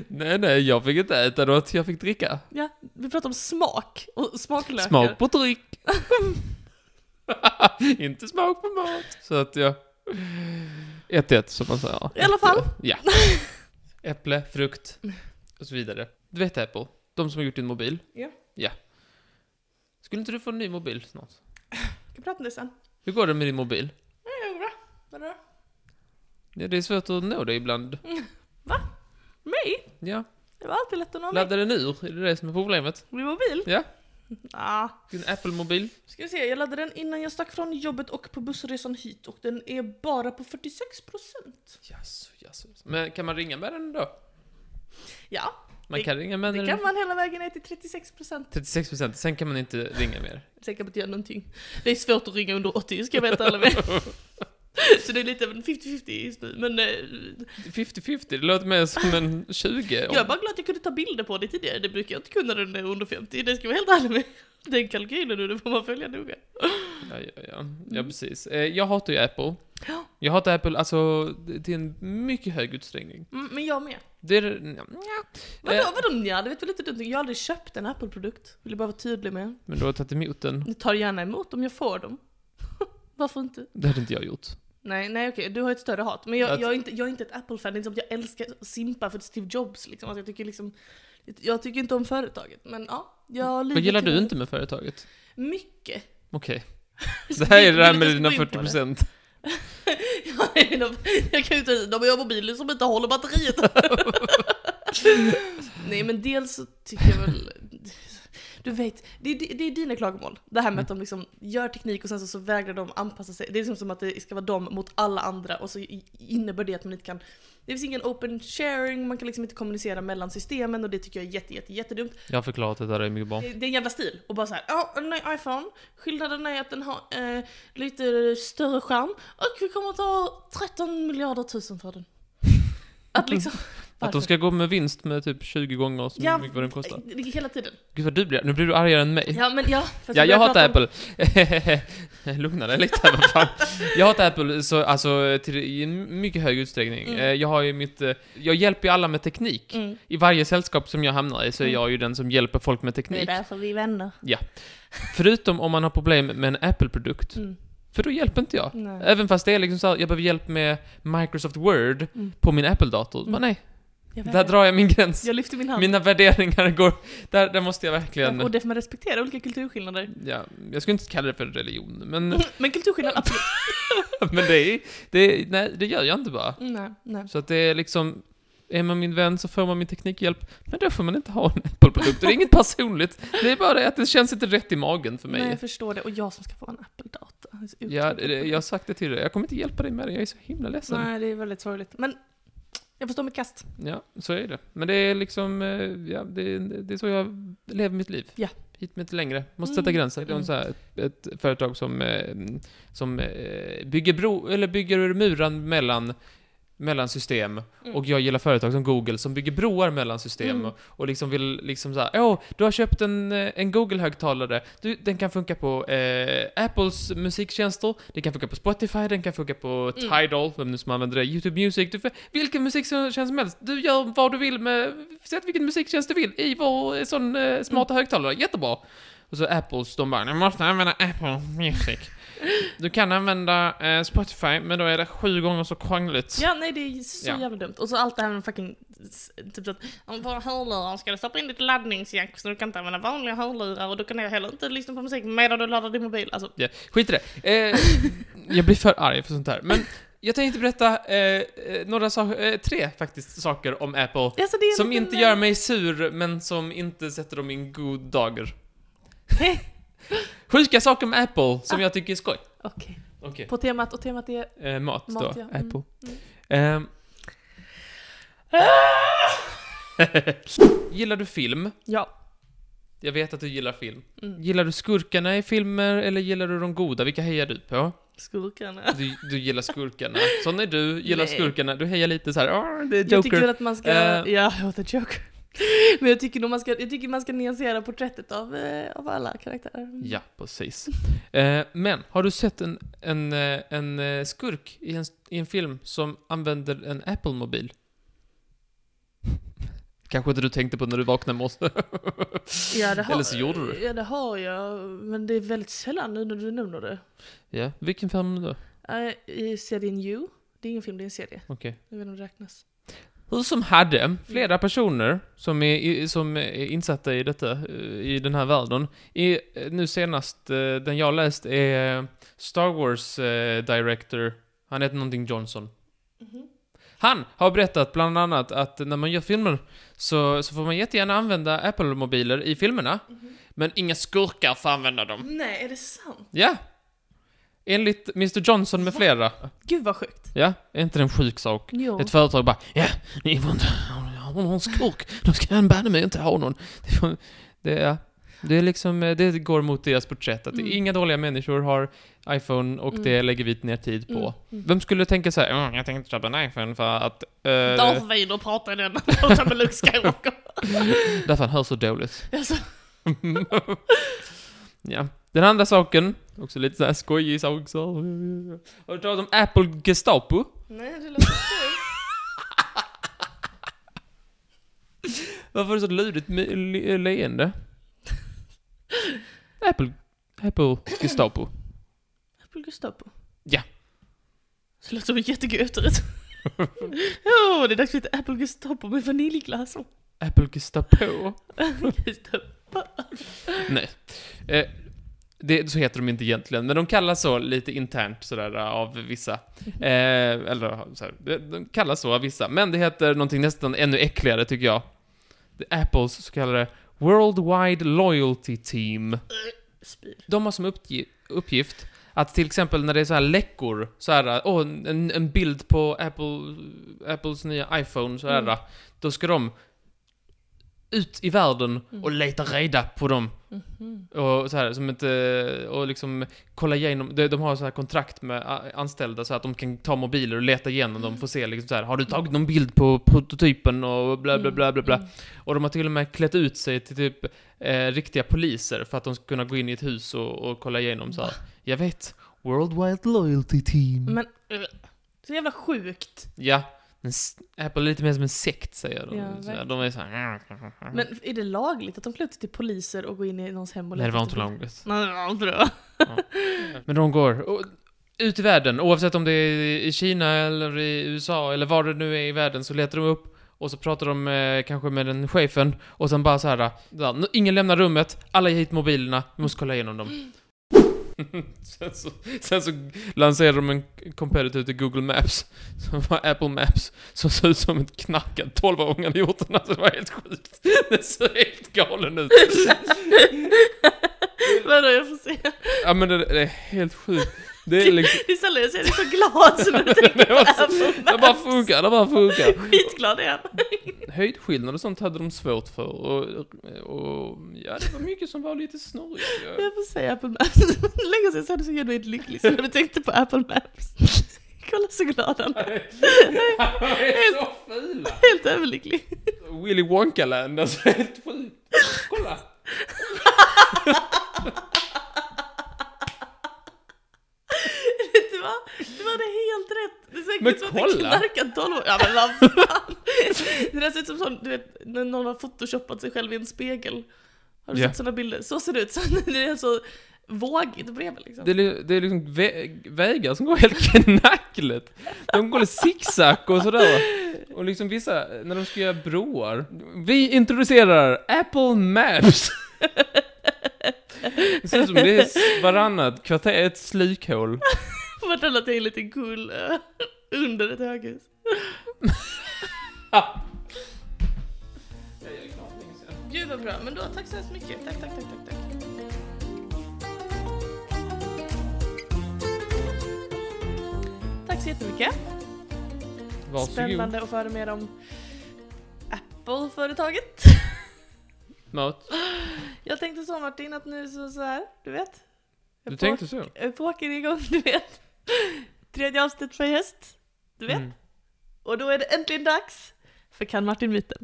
Nej, nej, jag fick inte äta något, jag fick dricka. Ja, vi pratade om smak och smaklökar. Smak på dryck. inte smak på mat. Så att jag... 1-1 som man säger. I alla fall. Ja. Äpple, frukt och så vidare. Du vet Apple, de som har gjort din mobil. Ja. Ja. Skulle inte du få en ny mobil snart? Vi kan prata om det sen. Hur går det med din mobil? Ja, det går bra. Vadå? Ja, det är svårt att nå dig ibland. Mig? Ja. Det var alltid lätt att nå mig. Laddar den ur? Är det det som är problemet? Min mobil? Ja. Ah. Din Apple-mobil? Ska vi se, jag laddade den innan jag stack från jobbet och på bussresan hit och den är bara på 46%. Jaså, jaså. Men kan man ringa med den då? Ja, Man Det- kan ringa med det den. kan man hela vägen ner till 36%. 36 procent, sen kan man inte ringa mer. Sen kan man inte göra någonting. Det är svårt att ringa under 80 ska jag veta alla med. Så det är lite av en 50-50 just nu, men eh, 50-50, det låter mer som en 20. jag är bara glad att jag kunde ta bilder på det tidigare. Det brukar jag inte kunna när den är under 50, det ska jag vara helt ärlig med. Den kalkylen nu, det får man följa noga. Ja, ja, ja. ja precis. Eh, Jag hatar ju Apple. Jag hatar Apple alltså till en mycket hög utsträckning. Mm, men jag med. Det är... nja, nja. Vadå, Eh, vadå nja? Det vet väl inte du? Jag har aldrig köpt en Apple-produkt. Vill jag bara vara tydlig med. Men du har tagit emot den. Jag tar gärna emot om jag får dem. Varför inte? Det hade inte jag gjort. Nej, nej okej, du har ett större hat. Men jag, Att- jag, är, inte, jag är inte ett Apple-fan, det är inte som att jag älskar att simpa för Steve Jobs liksom. Alltså, jag, tycker liksom jag tycker inte om företaget, men ja. Jag lider Vad gillar till- du inte med företaget? Mycket. Okej. Det här är det här Vi med lyckas dina gå in på 40 det. procent. Ja, nej, de- jag kan ju inte de har mobiler som inte håller batteriet. nej men dels så tycker jag väl... Du vet, det, är- det, det är dina klagomål. Det här med att de liksom gör teknik och sen så, så vägrar de anpassa sig. Det är liksom som att det ska vara dem mot alla andra och så i- innebär det att man inte kan... Det finns ingen open sharing, man kan liksom inte kommunicera mellan systemen och det tycker jag är jätte, jätte, jättedumt. Jag har förklarat det där, det är mycket bra. Det det är en jävla stil. Och bara såhär, ja, en ny iPhone. Skillnaden är att den har eh, lite större skärm. Och vi kommer att ta 13 miljarder tusen för den. Att liksom... Att de ska gå med vinst med typ 20 gånger så Ja, mycket vad den kostar. Det är Hela tiden. Gud vad du blir, nu blir du argare än mig. Ja, men ja. för att Ja, vi jag Alltså, börjar hatar prata om- Apple. Lugna dig lite, vad fan. Jag hatar Apple så, alltså, till, i en mycket hög utsträckning. Mm. Eh, Jag har ju mitt, eh, jag hjälper ju alla med teknik. Mm. I varje sällskap som jag hamnar i så är Mm. jag ju den som hjälper folk med Det är teknik. därför vi är vänner. Förutom om man har problem med en Apple-produkt. Mm. För då hjälper inte jag. Nej. Även fast det är liksom så här, jag behöver hjälp med Microsoft Word Mm. på min Apple-dator. Mm. Men nej, Jag, där vägrar. drar jag min gräns. jag lyfter min hand. Mina värderingar går... Där, där måste jag verkligen... Och det får man respektera, olika kulturskillnader. Ja, jag skulle inte kalla det för religion, men, Men kulturskillnader, absolut. men det, är, det, är- nej, det gör jag inte bara. Mm, Nej, nej. Så att det är liksom, är man min vän så får man min teknikhjälp, men då får man inte ha en Apple-produkt. Det är inget personligt, det är bara det att det känns inte rätt i magen för mig. Nej, jag förstår det. Och jag som ska få en Apple-dator. Jag är så ja, uttråkad på det- det. jag har sagt det till dig, jag kommer inte hjälpa dig med det, jag är så himla ledsen. Nej, det är väldigt sorgligt. Men jag förstår mitt kast. Ja, så är det. Men det är liksom, eh, ja, det, det är så jag lever mitt liv. Ja. Hit men inte längre. Måste Mm. sätta gränser. Det är Mm. så här, ett företag som, eh, som eh, bygger, bro, eller bygger muran mellan, mellan system. Mm. Och jag gillar företag som Google som bygger broar mellan system. Mm. Och, och liksom vill liksom så här, åh, du har köpt en, eh, en Google-högtalare. Du, den kan funka på eh, Apples musiktjänster, den kan funka på Spotify, den kan funka på Mm. Tidal, vem nu som använder det, YouTube Music. Du, får- vilken musiktjänst som helst. Du gör vad du vill med, sätt vilken musiktjänst du vill i vår eh, sån Mm. eh, smarta högtalare. Jättebra. Och så Apples, de bara, du måste använda Apple Music. Du kan använda eh, Spotify, men då är det sju gånger så krångligt. Ja, nej det är så Ja. jävla dumt. Och så allt det här med fucking, s- typ så att, om du har hörlurar ska du stoppa in ditt laddningsjack så du kan inte använda vanliga hörlurar och du kan heller inte lyssna på musik medan du laddar din mobil. Alltså, Ja, skit i det. Eh, jag blir för arg för sånt här. Men jag tänkte berätta eh, eh, några sa- eh, tre faktiskt saker om Apple. alltså det är en Som liten, inte eh, gör mig sur, men som inte sätter dem i en god dager. Sjuka saker med Apple, som jag tycker är skoj. Ah. Okej. Okej. På temat, och temat är... Eh, mat, Mat, då. ja. Mm, Apple. Ehm. Ah! gillar du film? Ja. Jag vet att du gillar film. Mm. Gillar du skurkarna i filmer, eller gillar du de goda? Vilka hejar du på? Skurkarna. Du, du gillar skurkarna. Sån är du, gillar Nej. skurkarna. Du hejar lite så här. "Åh, det är Jag tycker väl Joker. att man ska... Eh. Ja, jag åt en joker. Men jag tycker nog man ska, jag tycker man ska nyansera porträttet av, eh, av alla karaktärer. Ja, precis. Eh, men, har du sett en, en, eh, en eh, skurk i en, i en film som använder en Apple-mobil? Kanske inte du tänkte på när du vaknade i morse. Ja, det har, Eller så gjorde du det. Ja, det har jag. Men det är väldigt sällan nu när du nämner det. Ja, vilken film då? Eh, I serien You. Det är ingen film, det är en serie. Okej. Jag vet inte om det räknas. Hur som hade, flera personer som är, i- som är insatta i detta, eh, i den här världen, i, nu senast, eh, den jag läst är Star Wars eh, director, han heter någonting Johnson. Mhm. Han har berättat bland annat att när man gör filmer så, så får man jättegärna använda Apple-mobiler i filmerna, men inga skurkar får använda dem. Nej, är det sant? Ja! Enligt Mr Johnson med flera. Gud vad sjukt. Ja, är inte det en sjuk sak? Jo. Ett företag bara ja, ni får inte ha någon skurk, då ska jag banne mig inte ha någon. Det, får, det, är, det är liksom, eh, det går mot deras porträtt att Mm. inga dåliga människor har iPhone och Mm. det lägger vi ner tid på. Mm, mm. Vem skulle tänka så här, "Mm, jag tänkte köpa en iPhone för att... eh, Darth Vader pratar i den och pratar med Luke Skywalker. därför han hör så dåligt. Alltså, ja. Den andra saken, också lite såhär skojig sak så. Har du talat om Apple Gestapo? nej, det låter skoj. Varför är det så lurigt me- le- leende? Apple... Apple Gestapo. Apple Gestapo. Ja. Så det låter som en jättegod efterrätt. Jo, det är dags för lite Apple Gestapo med vaniljglass. Apple Gestapo? Gestapo. Nej. Eh, det, så heter de inte egentligen, men de kallas så lite internt sådär äh, av vissa. Eh, eller såhär, de- de kallas så av vissa. Men det heter någonting nästan ännu äckligare tycker jag. Det är Apples så kallade Worldwide Loyalty Team. Spyr. De har som uppgi- uppgift att till exempel när det är så här läckor, så här, åh, en, en bild på Apple, Apples nya iPhone, så här, Mm. då ska de ut i världen Mm. och leta reda på dem. Mhm. Och, så här, som ett, eh, och liksom kolla igenom, de, de har så här kontrakt med a- anställda så att de kan ta mobiler och leta igenom Mm. dem för att se liksom så här, har du tagit någon bild på prototypen och bla bla bla bla bla. Mm. Och de har till och med klätt ut sig till typ eh, riktiga poliser för att de ska kunna gå in i ett hus och, och kolla igenom så här. Jag vet. Worldwide Loyalty Team. Men, eh, så jävla sjukt. Ja. men s- Apple är lite mer som en sekt säger de. Ja, så här, verkligen. de är så här. Men, Men är det lagligt att de klär ut sig till poliser och går in i någons hem och Mm. Nej, det letar var efter inte lagligt. Nej, det var inte det. Men de går och, ut i världen, oavsett om det är i Kina eller i USA eller var det nu är i världen, så letar de upp och så pratar de eh, kanske med den chefen och sen bara så här, ja, nu- ingen lämnar rummet, alla ger hit mobilerna, vi måste kolla igenom dem. sen, så, sen så lanserade de en competitor till Google Maps, som var Apple Maps, som såg ut som ett knackat 12 åringar hade gjort den, alltså det var helt sjukt. Det såg helt galen ut. Vadå, jag får se. Ja men det, det är helt sjukt. Det är liksom... Det är sällan jag ser dig så glad som när du tänker det, var på så, Apple det bara Maps. funkar, det bara funkar. Skitglad är han. Höjdskillnad och sånt hade de svårt för och, och ja, det var mycket som var lite snurrigt. Jag- Jag får säga Apple Maps. Länge sedan jag såg dig så genuint lycklig så när du tänkte på Apple Maps. Kolla så glad han är. De är så fula! Helt överlycklig. Willy Wonka-land, alltså helt sjukt. Kolla! Vet du vad? Du hade helt rätt. Det är säkert Men så att kolla. det knarkar 12 år. Ja men vad fan. Det där ser ut som sån, du vet, när någon har photoshopat sig själv i en spegel. Har du Ja. sett sådana bilder? Så ser det ut. Så det är så vågigt bredvid liksom. Det är, li- det är liksom vä- vägar som går helt knackligt. De går lite zigzag och sådär. Och liksom vissa, när de ska göra broar. Vi introducerar Apple Maps! Det ser ut som det är s- varannat kvarter är ett slukhål. Vartannat är en liten kul eh, under ett höghus. Gud vad bra, men då tack så hemskt mycket. Tack, tack, tack, tack, tack. Tack så jättemycket. Varsågod. Spännande att få höra mer om Apple-företaget. Mat. Jag tänkte så Martin att nu så, så här, du vet. Du tänkte så? Epoken är igång, du vet. Tredje avsnittet för i höst. Du vet. Mm. Och då är det äntligen dags för Kan Martin-myten.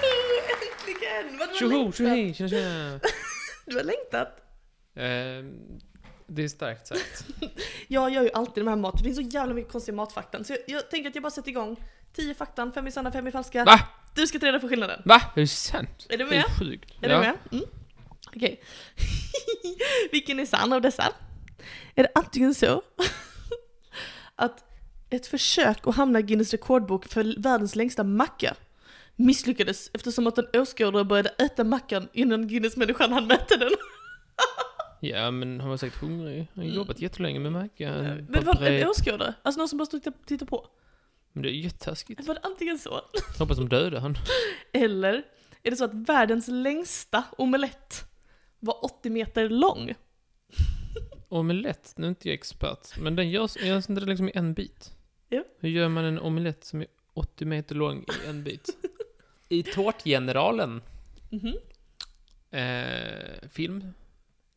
Äntligen! Vad du har Tjoho, längtat! tjohej, tjena tjena. Du har längtat! Eh, det är starkt sagt. Jag gör ju alltid de här mat, det finns så jävla mycket konstiga matfaktan. Så jag, jag tänker att jag bara sätter igång. 10 faktan, 5 är sanna, 5 är falska. Va? Du ska ta reda på skillnaden. Va? Är det sant? Är du Det med? är sjukt. Är Ja. du med? Mm. Okej. Vilken är sann av dessa? Är det antingen så att ett försök att hamna i Guinness rekordbok för världens längsta macka misslyckades eftersom att en åskådare började äta mackan innan Guinness-människan hann mäta den. Ja, men han var säkert hungrig. Han har jobbat jättelänge med macka. en Mm. Men var det paprika. en åskådare? Alltså någon som bara stod och tittade på? Men det är jättetaskigt. Eller var det antingen så? Hoppas de dödar han. Eller är det så att världens längsta omelett var 80 meter lång? Omelett, nu är inte jag expert, men den görs, görs inte den liksom i en bit? Ja. Hur gör man en omelett som är 80 meter lång i en bit? I Tårtgeneralen, Mhm. eh, film.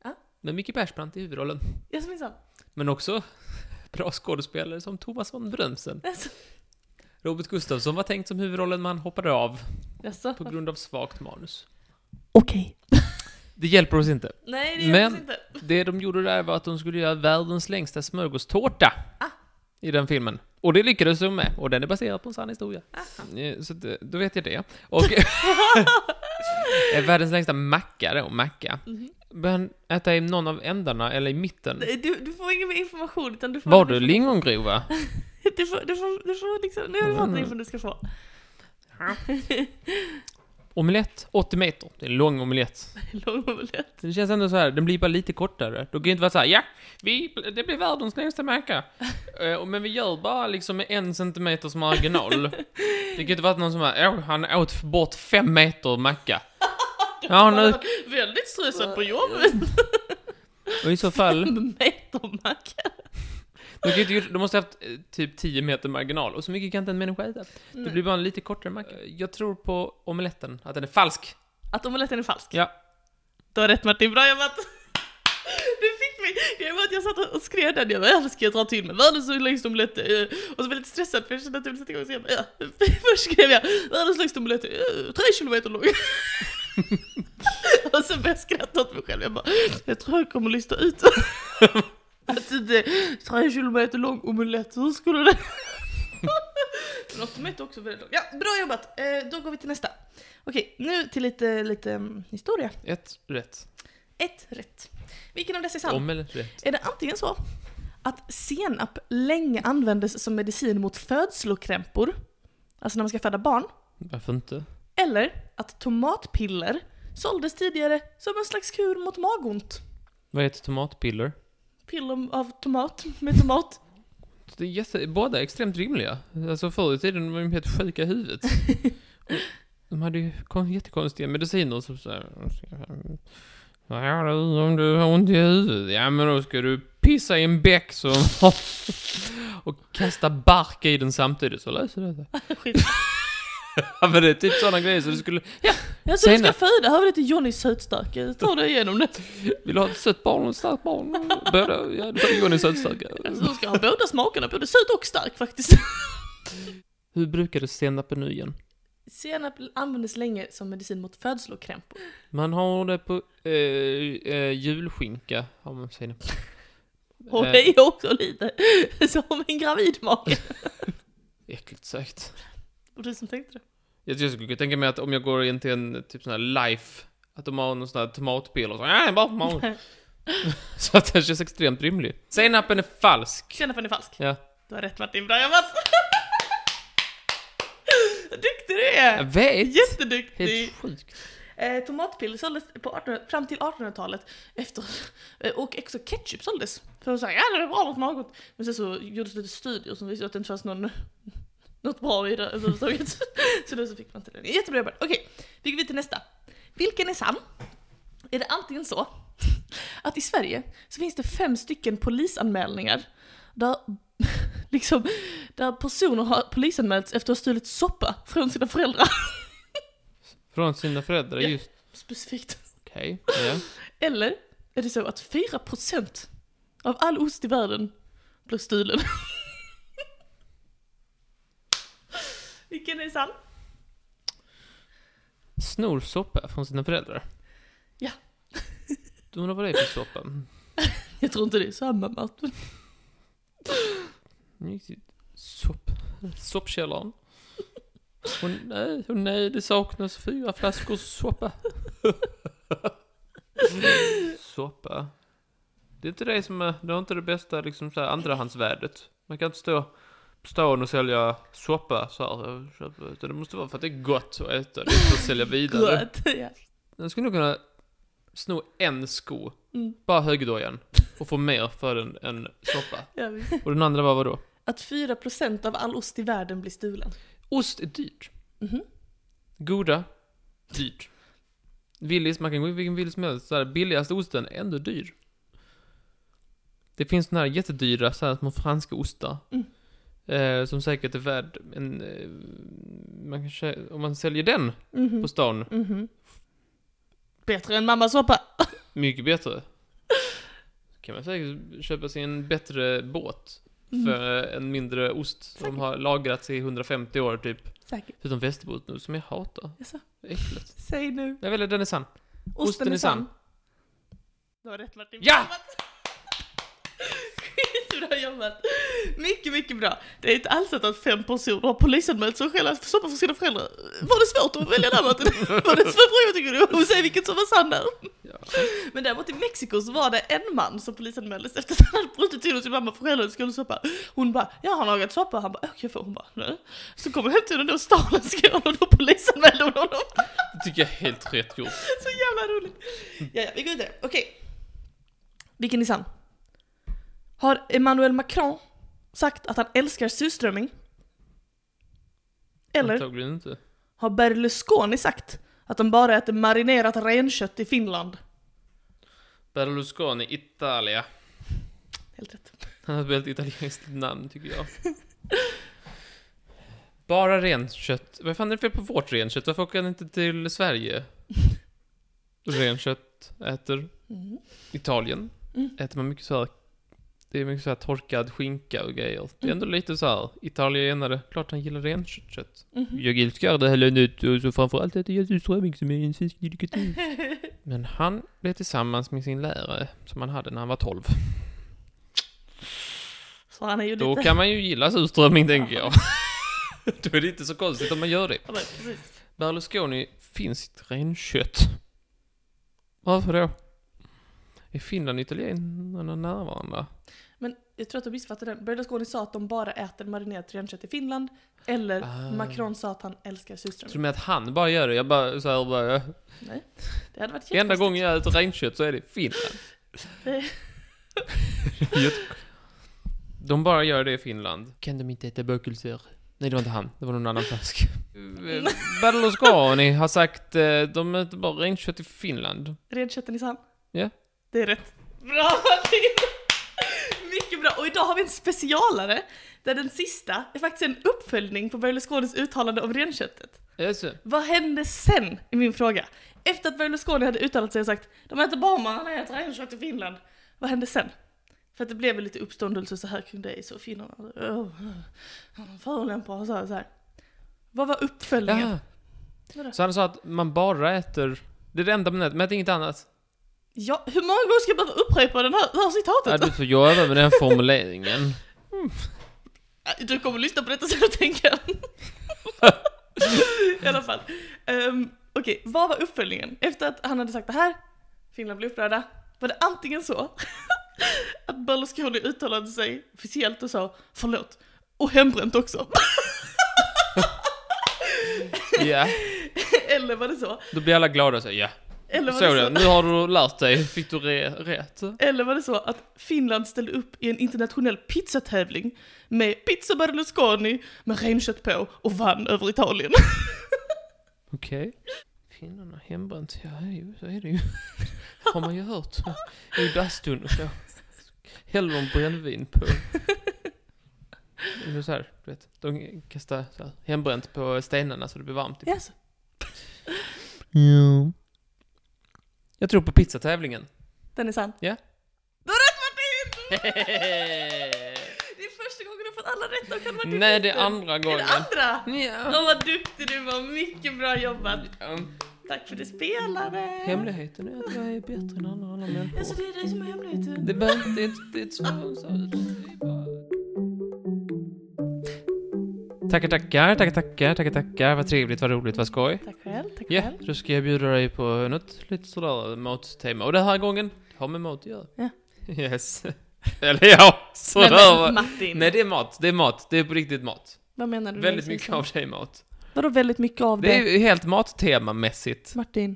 Ja. Med Micke Persbrandt i huvudrollen. Jaså minsann. Men också bra skådespelare som Thomas von Brömsen. Jaså. Robert Gustafsson var tänkt som huvudrollen man hoppade av Jaså. på grund av svagt manus. Okej. Det hjälper oss inte. Nej, det gör Men- det inte. Det de gjorde där var att de skulle göra världens längsta smörgåstårta Ah. i den filmen. Och det lyckades de med, och den är baserad på en sann historia. Ah. Eh, Så att, eh, då vet jag det. Och Eh, världens längsta macka då, macka. Bör han äta i någon av ändarna eller i mitten? Nej, Du, du får ingen mer information utan du får... Var du lingongrova? Mm. Du får, du får, du får liksom... Nu har du fått den information du ska få. Omelett, 80 meter. Det är en lång omelett. Lång omelett. Det känns ändå så här, den blir bara lite kortare. Då kan ju inte vara så här, ja, vi, det blir världens längsta macka. Eh, Men vi gör bara liksom med en centimeters marginal. Det kan ju inte vara någon som bara, åh, han åt bort fem meter macka. Ja, nu, Väldigt stressad på jobbet. och i så fall, Metermacka. Du, kan ju inte, gjort- du måste ha haft eh, typ 10 meter marginal, och så mycket kan inte en människa äta. Det blir bara en lite kortare macka. Eh, Jag tror på omeletten, att den är falsk. Att omeletten är falsk. Ja. Du har rätt Martin, bra jobbat! Du fick mig! Jag var att jag satt och skrev den, jag bara "Äh, ska jag dra till med världens längsta omelett? eh?" Och så var jag lite stressad för jag kände att jag ville sätta igång och säga "Ja." Först skrev jag världens längsta omelett, eh, tre kilometer lång. och sen började jag skratta åt mig själv, jag bara jag tror jag kommer lista ut att det är tre kilometer lång omelett, hur skulle det... Men omelett är också väldigt lång. Ja, bra jobbat! Eh, Då går vi till nästa. Okej, nu till lite, lite mm, historia. Ett rätt. Ett rätt. Vilken av dessa är sann? Om eller rätt. Är det antingen så att senap länge användes som medicin mot födslokrämpor, alltså när man ska föda barn, Varför inte? eller att tomatpiller såldes tidigare som en slags kur mot magont? Vad heter tomatpiller? Piller av tomat med tomat. Det är jätte, båda är extremt rimliga. Alltså förr i tiden var de helt sjuka i huvudet. Och de hade ju kon- jättekonstiga mediciner som såhär... Vad gör du om du har ont i huvudet? Ja men då ska du pissa i en bäck som Och kasta bark i den samtidigt så löser det sig. Skit. Ja men det är typ sådana grejer så du skulle... Jag tror du ska Senap. föda, här var lite Johnnys sötstarka, ta dig igenom det. Vill du ha ett sött barn och ett starkt barn? Båda? Ja, då tar vi Johnny sötstärka. Alltså, du ska ha båda smakerna, både söt och stark faktiskt. Hur brukades senapen nu igen? Senap användes länge som medicin mot födslokrämpor. Man har det på eh, eh, julskinka, har man senap. Och Eh, det är också lite som en gravid mage. Äckligt sagt. Och du som tänkte det. Jag, jag skulle kunna tänka mig att om jag går in till en typ sån här life, att de har någon sån här tomatpiller och så, nej, bara tomat. Så att den känns extremt rimlig. Senapen är falsk. Senapen är falsk. Ja. Du har rätt Martin, bra jobbat! Vad duktig du är! Jag vet. Helt Jätteduktig! sjukt. Eh, tomatpiller såldes på 18, fram till 1800-talet efter, eh, och också ketchup såldes. För att säga ja det är bra mot något. Men sen så gjordes lite studier som visade att det inte fanns någon, något bra i det överhuvudtaget. så då så fick man inte det. Jättebra jobbat! Okej, vi går vidare till nästa. Vilken är sann? Är det antingen så att i Sverige så finns det fem stycken polisanmälningar där, liksom, där personer har polisanmälts efter att ha stulit soppa från sina föräldrar. Från sina föräldrar, Ja. just. Specifikt. Okej. Ja. Eller är det så att 4% av all ost i världen blir stulen? Vilken är sann? Snor soppa från sina föräldrar. Ja. Du undrar vad det är för soppa? Jag tror inte det är samma Martin. Hon gick till Sopp... Soppkällaren. Och nej, och nej, det saknas fyra flaskor soppa. soppa. Det är inte det som är, det är inte det bästa liksom så här andrahandsvärdet. Man kan inte stå på stan och sälja soppa så här. och köpa, utan Det måste vara för att det är gott att äta, det är för att sälja vidare. Gott, ja. Den skulle nog kunna sno en sko, Mm. bara högdojan, och få mer för den än soppa. Ja, visst. Och den andra var vadå? Att 4% av all ost i världen blir stulen. Ost är dyrt. Mhm. Goda, dyrt. Willys, man kan gå i vilken Willys som helst. Så här, billigaste osten, är ändå dyr. Det finns såna här jättedyra, så här, små franska ostar. Mm. Eh, som säkert är värd en... Eh, man kan sä- om man säljer den Mhm. på stan, Mhm. Bättre än mammas soppa. mycket bättre. kan man säkert köpa sig en bättre båt. För eh, en mindre ost som Säkert. har lagrats i 150 år typ. Säkert. Förutom västerbot nu, som jag hatar. Jaså? Äckligt. Säg nu. Jag väljer den är sann. Osten, är sann. Du har rätt Martin. Ja! Skitbra jobbat! Mycket, mycket bra. Det är inte alls så att fem personer har polisanmält sig själva för soppa för sina föräldrar. Var det svårt att välja där Martin? Var det en svår fråga tycker du? Och säga vilket som var sann där. Ja. Men däremot i Mexiko så var det en man som polisanmäldes efter att han hade brutit till hos sin mamma för själva skolsoppa. Hon bara, ja han har lagat soppa. Han bara, okej jag får. Hon bara, nej. Så kom han hem till henne och stal en skål och då polisanmälde hon honom. Det tycker jag är helt rätt gjort. Så jävla roligt. Ja, ja, vi går vidare. Okej. Vilken är sann? Har Emmanuel Macron sagt att han älskar surströmming? Eller Antagligen inte. har Berlusconi sagt att de bara äter marinerat renkött i Finland? Berlusconi, Italia. Helt rätt. Han har ett väldigt italienskt namn tycker jag. Bara renkött. Vad fan är det fel på vårt renkött? Varför åker han inte till Sverige? Renkött äter Mm. Italien. Mm. Äter man mycket så här. Det är mycket så här torkad skinka och grejer. Det är Mm. ändå lite så här. Italienare, klart han gillar renkött. Mhm. Jag älskar det här landet och så framförallt äter jag surströmming som är en svensk delikat. Men han blev tillsammans med sin lärare som han hade när han var 12. Så han är ju Då lite... kan man ju gilla surströmming, tänker jag. Då är det inte så konstigt om man gör det. Ja, men precis. Berlusconi, finskt renkött. Varför då? Är Finland och italienarna nära varandra? Men jag tror att du missuppfattade den. Berlusconi sa att de bara äter marinerat renkött i Finland. Eller Ah. Macron sa att han älskar Tror du surströmming. med att han bara gör det? Jag bara så här bara... Nej, det hade varit Enda jättekonstigt. gången jag äter renkött så är det Finland. Nej. Jätte- de bara gör det i Finland. Kan de inte äta bökelser? Nej, det var inte han. Det var någon annan flask. Eh, Berlusconi har sagt eh, de äter bara renkött i Finland. Renkötten i sand. Ja. Det är rätt. Bra Matilda! Mycket bra. Och idag har vi en specialare där den sista är faktiskt en uppföljning på Berlusconis uttalande om renköttet. Jaså? Vad hände sen, i min fråga? Efter att Berlusconi hade uttalat sig och sagt de äter barmarna, de äter renkött i Finland. Vad hände sen? För att det blev väl lite uppståndelse så här kring dig, så finnarna... Oh, han förolämpar och så här, så här. Vad var uppföljningen? Ja. Vadå? Så han sa att man bara äter... Det är det enda man äter, man äter inget annat. Ja, hur många gånger ska jag behöva upprepa den här, det här Ja, citatet? du får göra med den formuleringen. Äh, Du kommer lyssna på detta sen och tänka. I alla fall. Um, Okej, vad var uppföljningen? Efter att han hade sagt det här, Finland blev upprörda, var det antingen så att Berlusconi uttalade sig officiellt och sa förlåt, och hembränt också. Ja. Eller var det så? Då blir alla glada och säger ja. Eller var, Så det, det så? nu har du lärt dig. Fick du re- rätt? Eller var det så att Finland ställde upp i en internationell pizzatävling med pizza Berlusconi med renkött på och vann över Italien? Okej. Finnarna hembränt, ja det är ju, så är det ju. Har man ju hört. I bastun och så. Häller de brännvin på. Det är Så här, du vet, de kastar så här, hembränt på stenarna så det blir varmt. Yes. Jag tror på pizzatävlingen. Den är sann. Ja. Du har rätt Martin! Hehehe. Det är första gången du har fått alla rätt av kan Martin. Nej, det är andra Är det gången. andra? Ja. Åh vad duktig du var, mycket bra jobbat. Tack för att du spelade. Hemligheten är att jag är bättre än alla andra Alltså människor. det är dig som är hemligheten. Det behöver inte, det är inte- det är inte så- så- det är bara- Tackar, tackar, tackar, tackar, tackar, tackar. Vad trevligt, vad roligt, vad skoj. Tack själv, tack Ja, själv. då ska jag bjuda dig på något lite sådär mattema. Och den här gången har med mat att göra. Ja. Yes. Eller ja, sådär. Nej var- men Martin, Nej, det är mat, det är mat, det är på riktigt mat. vad menar du? Väldigt med mycket liksom? av det är mat. Vadå väldigt mycket av det? Det är ju helt mattemamässigt. Martin.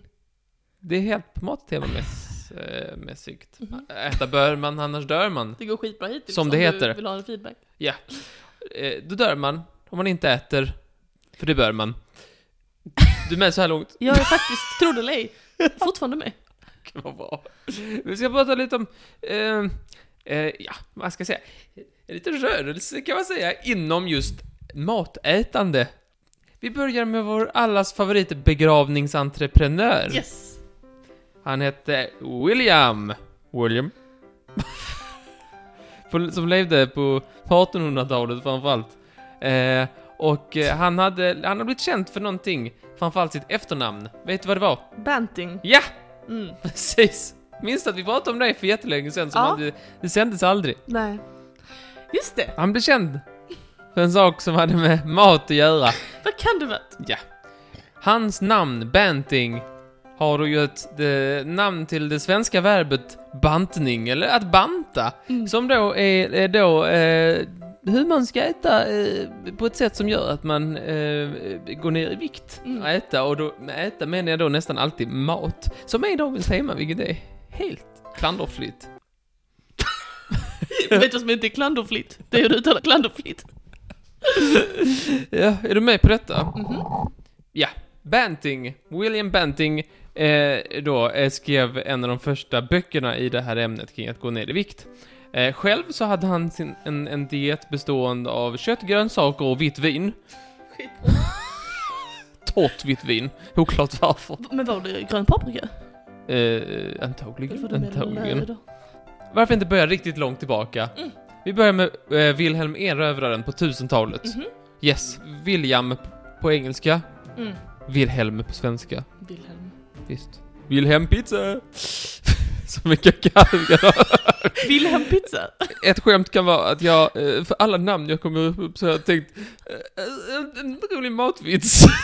Det är helt mattemamässigt. Mm-hmm. Äta bör man, annars dör man. Det går skitbra hittills Som det om heter. du vill ha en feedback. Eh, Då dör man, om man inte äter. För det bör man. Du är med så här långt. Jag är faktiskt, tro det eller ej, fortfarande med. Gud, Vad bra. Vi ska prata lite om, eh, eh, ja, vad ska jag säga? Lite rörelse kan man säga inom just matätande. Vi börjar med vår allas favorit begravningsentreprenör. Yes! Han hette William. William? På- Som levde på 1800-talet framförallt. Eh, och eh, han hade, han hade blivit känd för någonting, framförallt sitt efternamn. Vet du vad det var? Banting. Ja, Mm. precis! Minns du att vi pratade om det för jättelänge sedan? Som Ja. hade, det sändes aldrig. Nej. Just det, Han blev känd för en sak som hade med mat att göra. vad kan det varit? Ja. Hans namn, Banting, har då ju ett eh, namn till det svenska verbet bantning, eller att banta, som då är, är då eh, hur man ska äta eh, på ett sätt som gör att man eh, går ner i vikt. Mm. Äta, och då, med äta menar jag då nästan alltid mat, som är dagens tema, vilket är helt klanderfritt. Vet du vad som inte är klanderfritt? Det är hur du uttalar klanderfritt. Ja, är du med på detta? Mhm. Ja, Banting, William Banting, eh, då eh, skrev en av de första böckerna i det här ämnet kring att gå ner i vikt. Eh, själv så hade han sin, en, en diet bestående av kött, grönsaker och vitt vin. Skit. Torrt vitt vin, oklart varför. Men var det grön paprika? Eh, Eller var antagligen, det antagligen. mellanlär då? Varför inte börja riktigt långt tillbaka? Mm. Vi börjar med eh, Wilhelm Erövraren på 1000-talet. Mhm. Yes, William på engelska, Mm. Wilhelm på svenska. Wilhelm. Visst. Wilhelm Pizza! Som vi kan kalla Wilhelm pizza? Ett skämt kan vara att jag, eh, för alla namn jag kommer upp så har jag tänkt eh, eh, en- en rolig matvits.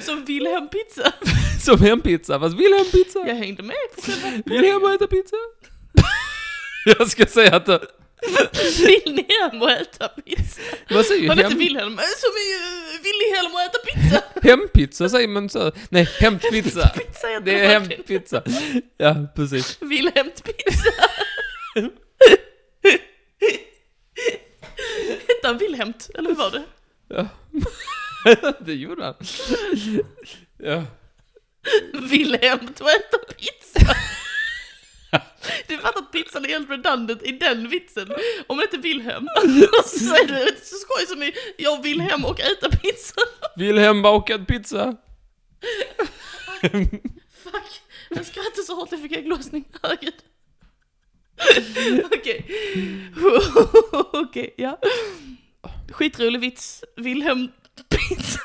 Som Wilhelm pizza? Som hempizza, fast Wilhelm Pizza! Jag hängde med på själva Wilhelm och äta pizza! jag ska säga att eh, det- Wilhelm och äta pizza. vad säger Han du? heter Hem, Wilhelm, eh, som är uh, Wilhelm och äta pizza. hempizza säger man så. Nej, hämtpizza. pizza heter Det är Martin. hämtpizza. Ja, precis. Wilhelms pizza. Hette han Wilhelmt, eller hur var det? det gjorde han. Ja. Wilhelmt och äta pizza. Du fattar att pizzan är helt redundant i den vitsen. Om det inte är Wilhelm. Och så säger du, det är inte så skoj som i jag vill hem och äta pizza. Wilhelm bakad pizza. Fuck, jag skrattade så hårt jag fick ägglossning. Herregud. Okej. Okej, ja. Skitrolig vits. Wilhelm pizza.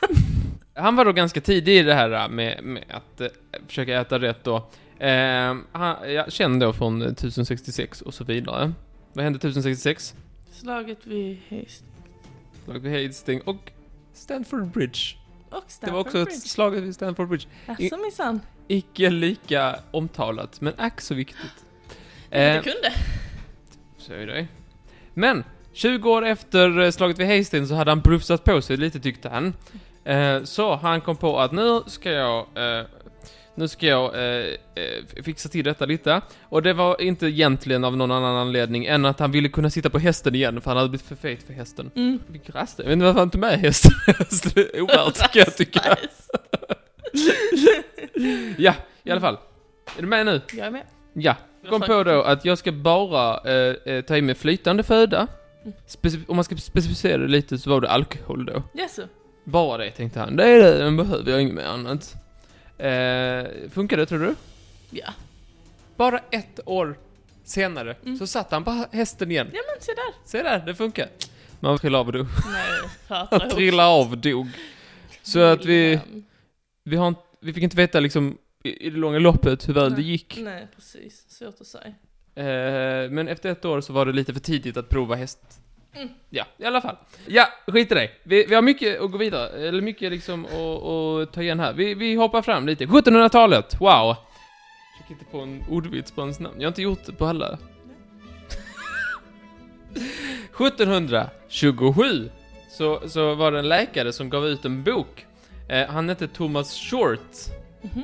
Han var då ganska tidig i det här äh, med, med att eh, försöka äta rätt då. Eh, han, jag kände då från 1066 äh, och så vidare. Vad hände 1066? Slaget vid Hastings. Slaget vid Hastings och Stanford Bridge. Och det var också ett Bridge. slag vid Stanford Bridge. Jaså minsann. Icke lika omtalat, men ack så viktigt. Det Eh, kunde. så är det. Men, 20 år efter eh, slaget vid Hastings så hade han brufsat på sig lite tyckte han. Eh, så han kom på att nu ska jag, eh, nu ska jag eh, eh, fixa till detta lite. Och det var inte egentligen av någon annan anledning än att han ville kunna sitta på hästen igen för han hade blivit för fet för hästen. Mm. Vilken rast det är. Jag vet inte varför han tog med hästen. Det är Ovärt kan jag tycka. Nice. Ja, i alla fall. Är du med nu? Jag är med. Ja, kom på då att jag ska bara eh, eh, ta in mig flytande föda. Speci- om man ska specificera det lite så var det alkohol då. Jaså? Bara det tänkte han. Det är det, den behöver jag inget mer annat. Eh, funkar det tror du? Ja. Bara ett år senare Mm. så satt han på hästen igen. Ja men se där. Se där, det funkar. Man trillar av och dog. Nej, hatar Han ihop. trillar av och dog. Så att vi, Wilhelm. vi, har inte, vi fick inte veta liksom i i det långa loppet hur väl det Nej. gick. Nej precis, svårt att säga. Eh, men efter ett år så var det lite för tidigt att prova häst. Mm. Ja, i alla fall. Ja, skit i det. Vi, vi har mycket att gå vidare, eller mycket liksom att, att ta igen här. Vi, vi hoppar fram lite. 1700-talet, wow! Försök inte på en ordvits på hans namn. Jag har inte gjort det på alla. 1727 så, så var det en läkare som gav ut en bok. Eh, han hette Thomas Short. Mhm.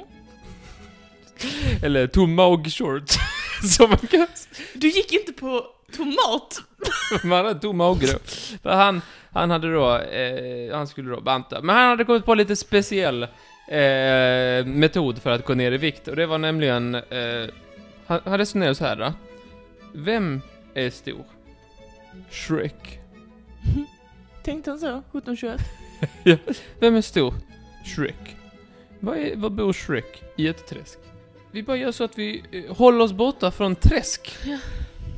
Eller Tomaug Short, som man kan Du gick inte på tomat? Man hade tomma och grå. För han, han hade då, eh, han skulle då banta. Men han hade kommit på lite speciell eh, metod för att gå ner i vikt. Och det var nämligen, eh, han, han resonerade så här då. Vem är stor? Shrek. Tänkte han så? 1721? Vem är stor? Shrek. Vad är, vad bor Shrek? I ett träsk. Vi bara gör så att vi eh, håller oss borta från träsk. Ja.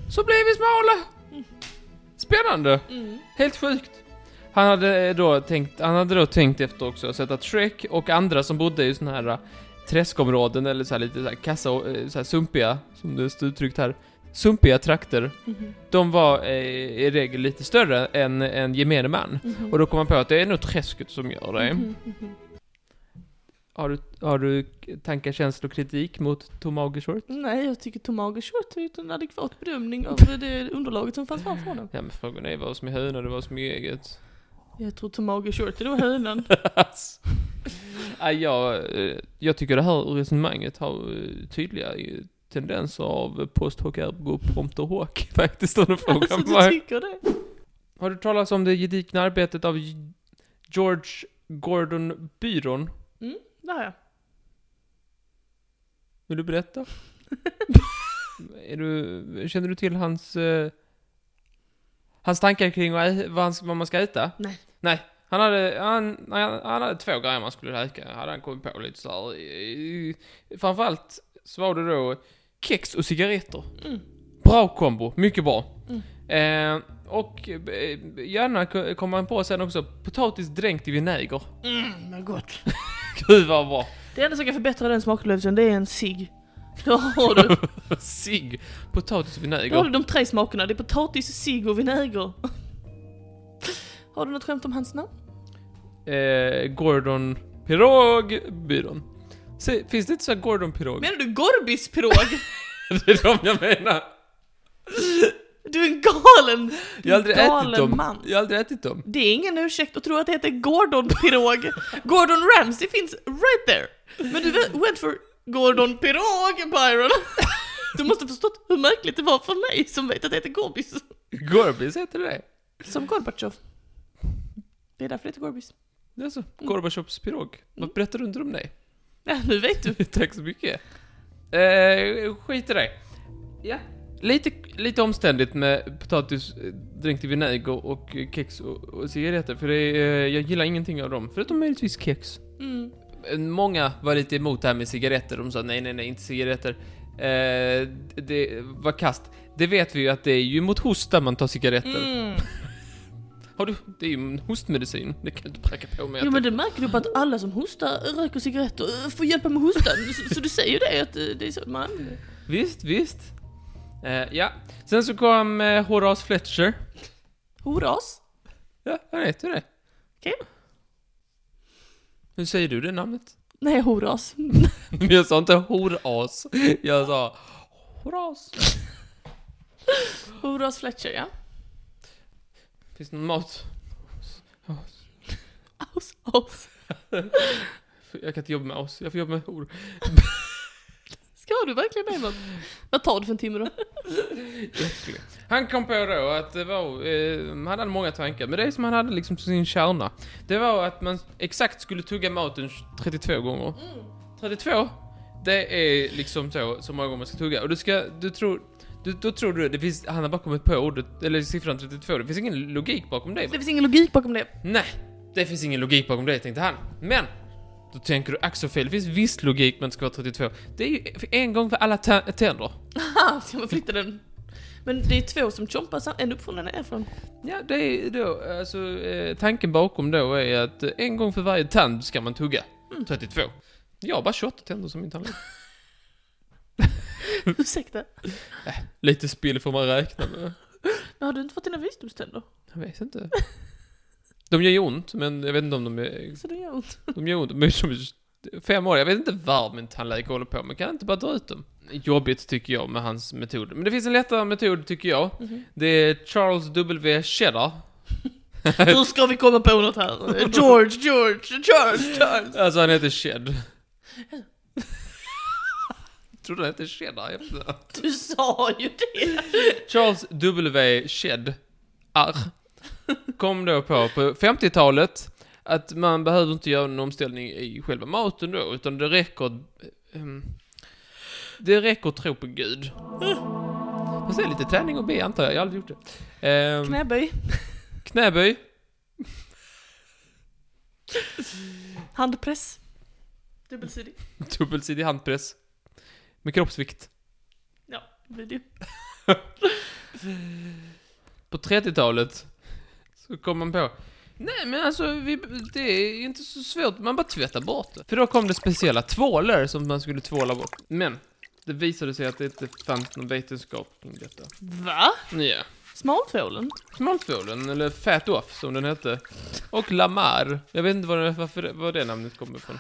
Så blir vi smala! Mm. Spännande! Mm. Helt sjukt! Han hade eh, då tänkt, han hade då tänkt efter också, sett att Shrek och andra som bodde i såna här äh, träskområden eller så här lite så här kassa och äh, så här sumpiga, som det står uttryckt här, sumpiga trakter, Mhm. de var eh, i regel lite större än en gemene man. Mhm. Och då kom han på att det är nog träsket som gör det. Mhm. Mhm. Har du, har du tankar, känslor och kritik mot Tom Agershort? Nej, jag tycker Tom Agershort har gjort en adekvat bedömning av det underlaget som fanns framför honom. Ja men frågan är vad som är höna och vad som är eget. Jag tror Tom Agershort, det var hönan. ja, Alltså. jag, eh, jag tycker det här resonemanget har eh, tydliga eh, tendenser av post hoc ergo prompter hoc faktiskt om du frågar Alltså, du mig. tycker det? Har du talat om det gedigna arbetet av J- George Gordon Byron? Mm, det har jag. Vill du berätta? är du, känner du till hans, eh, hans tankar kring vad, ä- vad, han, vad man ska äta? Nej. Nej. Han hade, han, nej, han, han hade två grejer man skulle äta, hade han kommit på lite såhär. Framförallt så var det då kex och cigaretter. Mm. Bra kombo, mycket bra. Eh, och eh, gärna k- kom man på sen också potatis dränkt i vinäger. Mm, vad gott. Gud vad bra. Det enda som kan förbättra den smakupplevelsen, det är en cigg. Då har du, Sig, potatis och då har du vinäger. de tre smakerna. Det är potatis, cigg och vinäger. Har du något skämt om hans namn? Eh, Gordon Pirog byrån. Se, finns det inte så här Gordon Pirog? Menar du Gorbispirog? det är de jag menar. Du är en galen, Jag har aldrig galen ätit dem. man. Jag har aldrig ätit dem. Det är ingen ursäkt att tro att det heter Gordon-pirog. Gordon Ramsay finns right there. Men du went for Gordon-pirog, Byron. Du måste ha förstått hur märkligt det var för mig som vet att det heter Gorbis. Gorbis heter det Som Gorbatjov. Det är därför det heter Gorbis. det? Alltså, Gorbatjovs pirog. Vad Mm. berättar du inte om det? Ja, nu vet du. Tack så mycket. Eh, skit i det. Ja. Lite, lite omständigt med potatis eh, dränkt i vinäger och eh, kex och, och cigaretter. För det, är, eh, jag gillar ingenting av dem. Förutom möjligtvis kex. Mm. Eh, Många var lite emot det här med cigaretter. De sa nej, nej, nej, inte cigaretter. Eh, det var kast. Det vet vi ju att det är ju mot hosta man tar cigaretter. Mm. Har du? Det är ju en hostmedicin. Det kan du inte pracka på med. Jo att men det märker du på att alla som hostar röker cigaretter eh, får hjälpa med hostan. Så, så du säger ju det att eh, det är så man använder det. Visst, visst. Eh, ja. Sen så kom eh, Horace Fletcher. Horas? Ja, jag vet ju det. Okej. Hur säger du det namnet? Nej, horas. Men jag sa inte horas. Jag sa horas. Horas Fletcher, ja. Finns det någon mat? Aus, aus. Jag kan inte jobba med oss. Jag får jobba med hor. Ska du verkligen det? Vad- Vad tar det för en timme då? Äcklig. Han kom på då att det var, eh, han hade många tankar, men det som han hade liksom sin kärna, det var att man exakt skulle tugga maten 32 gånger. 32? Det är liksom så, så många gånger man ska tugga. Och du ska, du tror, du, då tror du, det finns, han har bara kommit på ordet, eller siffran 32, det finns ingen logik bakom det. Det finns ingen logik bakom det. Nej, det finns ingen logik bakom det, tänkte han. Men! Då tänker du ack så fel, det finns viss logik men det ska vara 32. Det är ju en gång för alla tä- tänder. Haha, ska man flytta den? Men det är två som chompar sam- en upp från en nerifrån. Ja, det är då, alltså eh, tanken bakom då är att eh, en gång för varje tand ska man tugga. 32. Jag har bara 28 tänder som min tandläkare. Ursäkta, Lite spill får man räkna med. men har du inte fått dina visdomständer? Jag vet inte. De gör ju ont, men jag vet inte om de är... Så det gör ont. De gör ont, men som fem år, jag vet inte vad min tandläkare håller på med. Kan jag inte bara dra ut dem? Jobbigt tycker jag med hans metod. Men det finns en lättare metod tycker jag. Mhm. Det är Charles W. Cheddar. Hur ska vi komma på något här? George, George, Charles, Charles. Alltså han heter Shed. Tror du han heter Cheddar? Jag vet inte. Du sa ju det! Charles W. Shed. Arr. Kom då på, på 50-talet att man behöver inte göra någon omställning i själva maten då, utan det räcker... ehm, det räcker att tro på Gud. Fast det är lite träning och be antar jag, jag har aldrig gjort det. Ehm, Knäböj, knäböj. handpress, dubbelsidig. Dubbelsidig handpress. Med kroppsvikt. Ja, det blir det. På 30-talet så kom man på Nej men alltså, vi, det är inte så svårt, man bara tvättar bort det. För då kom det speciella tvålar som man skulle tvåla bort. Men, det visade sig att det inte fanns någon vetenskap kring detta. Va? Ja. Smaltvålen? Smaltvålen, eller Fat Off som den hette. Och Lamar. Jag vet inte var det, varför det, var det namnet kommer ifrån.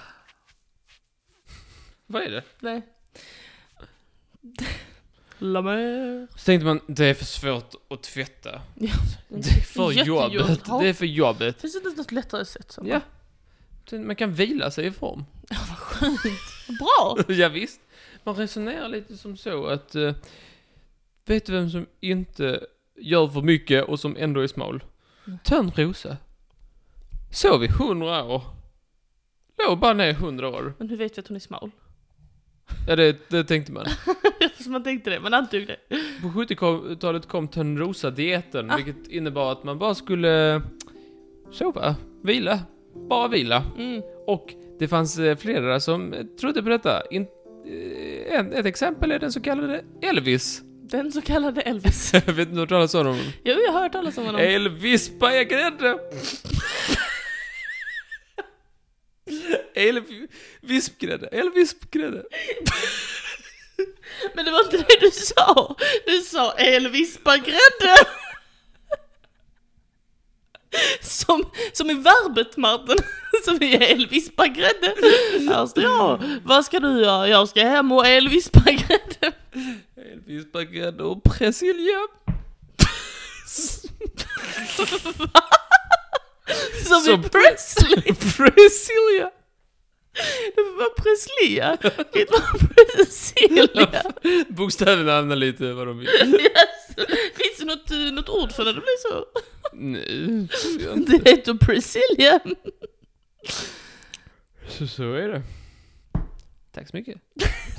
Vad är det? Nej. La mer. Så tänkte man, det är för svårt att tvätta. Ja, det är för jättejobb. jobbigt. Ja. Det är för jobbigt. Finns det inte något lättare sätt? Som Ja. Man kan vila sig i form. Bra! ja, visst. Man resonerar lite som så att... eh, vet du vem som inte gör för mycket och som ändå är smal? Nej. Törnrosa. Sov i hundra år. Låg bara ner i hundra år. Men hur vet vi att hon är smal? Ja, det, det tänkte man. Eftersom man tänkte det, man antog det. På 70-talet kom Törnrosa-dieten, Ah. vilket innebar att man bara skulle sova, vila, bara vila. Mm. Och det fanns eh, flera som eh, trodde på detta. In, eh, en, ett exempel är den så kallade Elvis. Den så kallade Elvis. Jag vet inte om du talas om honom? Jo, jag har hört talas om honom. Elvis på egen hand. Elvis vispgrädde, elvispgrädde. Men det var inte det du sa! Du sa elvispa grädde! Som, som i verbet Martin, som i elvispa grädde. Här står jag. Vad ska du göra? Jag ska hem och elvispa grädde. Elvispgrädde och persilja. Som, Som i Presley. Persilja. Vad Preslia? Det var Presilja. Bokstäverna hamnar lite vad de vill. Yes. Finns det något, eh, något ord för när det blir så? Nej, tror jag inte. Det heter Presilja. Så, så är det. Tack så mycket.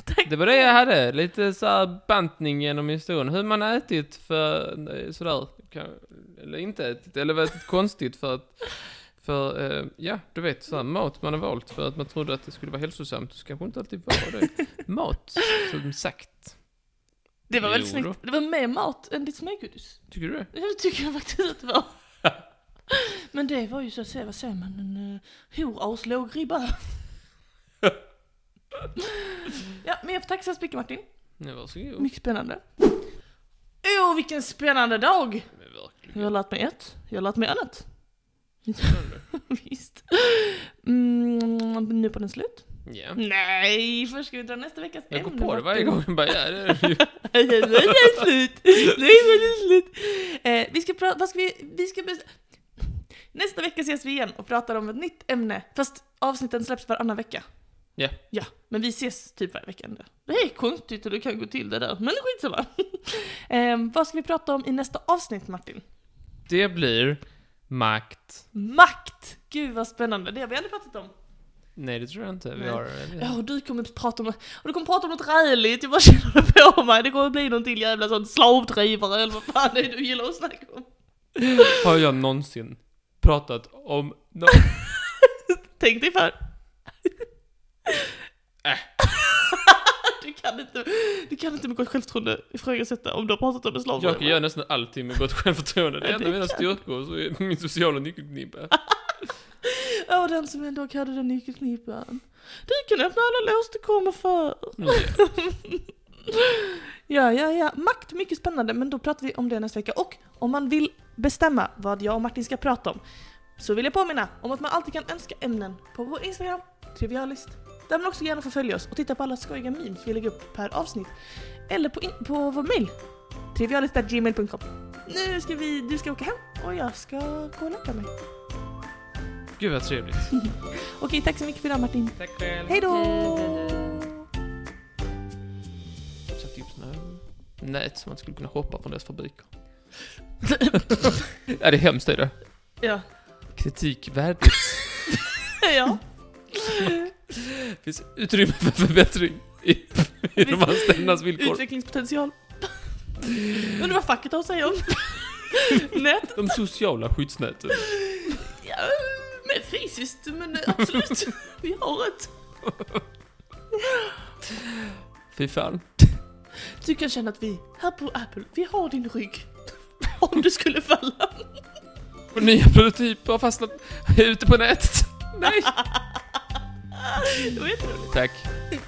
Tack. Det var det jag hade, lite så här bantning genom historien. Hur man ätit för, nej, sådär, kan- eller inte ätit, eller vad ätit konstigt för att, för, eh, ja, du vet, så här, mat man har valt för att man trodde att det skulle vara hälsosamt, så kanske inte alltid var det. Mat, som sagt. Det var väldigt Jo då. snyggt. Det var mer mat än ditt smörgodis. Tycker du det? Det tycker jag faktiskt att det var. Men det var ju så att säga, vad säger man, en uh, horas lågribba. ja, men jag får tacka så hemskt mycket Martin. Nej, varsågod. Mycket spännande. Åh, oh, vilken spännande dag! Men verkligen. Jag har lärt mig ett, jag har lärt mig annat. Spännande. Visst. Mm, nu på den slut? Ja. Nej, först ska vi dra nästa veckas Mm. Jag går ämne, på det varje Martin. gång, jag bara, ja, det är det ju. Nej, nu är det slut! Nu är det slut! Eh, vi ska prata, vad ska vi, vi ska bes- Nästa vecka ses vi igen och pratar om ett nytt ämne, fast avsnitten släpps varannan vecka. Ja. Ja, men vi ses typ varje vecka ändå. Det här är konstigt och det kan gå till det där, men skitsamma. eh, vad ska vi prata om i nästa avsnitt Martin? Det blir makt. Makt! Gud vad spännande, det har vi aldrig pratat om. Nej, det tror jag inte. Vi Nej. har... Ja, och du kommer prata om, och du kommer prata om något räligt, jag bara känner det på mig. Det kommer bli någon till jävla sån slavdrivare eller vad fan det är du gillar att snacka om. Har jag någonsin pratat om något? Tänk dig för. Äh. du, kan inte, du kan inte med gott självförtroende ifrågasätta om du har pratat om en slav. Jag kan göra nästan allting med gott självförtroende. Det är en av mina styrkor, så är min sociala nyckelknippa. Mm. Åh, den som en dag hade den nyckelknippan. Du kan öppna alla lås du kommer för. Ja. Ja, ja, ja. Makt, mycket spännande. Men då pratar vi om det nästa vecka. Och om man vill bestämma vad jag och Martin ska prata om så vill jag påminna om att man alltid kan önska ämnen på vår Instagram, Trivialist. Där man också gärna får följa oss och titta på alla skojiga memes vi lägger upp per avsnitt. Eller på, in- på vår mail, trivialist.gmail.com. Nu ska vi, du ska åka hem och jag ska gå och lägga mig. Gud vad trevligt. Okej, tack så mycket för idag Martin. Tack själv. Hej då! Så typ såna här nät som man skulle kunna hoppa från deras fabriker. ja, det är hemskt är det. Ja. Kritikvärdigt. ja. Det finns utrymme för förbättring i, i de anställdas villkor. Utvecklingspotential. Undrar vad facket har att säga om nätet. De sociala skyddsnäten. Ja, men fysiskt, men absolut. Vi har ett. Fy fan. Du kan känna att vi, här på Apple, vi har din rygg. Om du skulle falla. Vår nya prototyp har fastnat ute på nätet. Nej. Det var jätteroligt. Tack.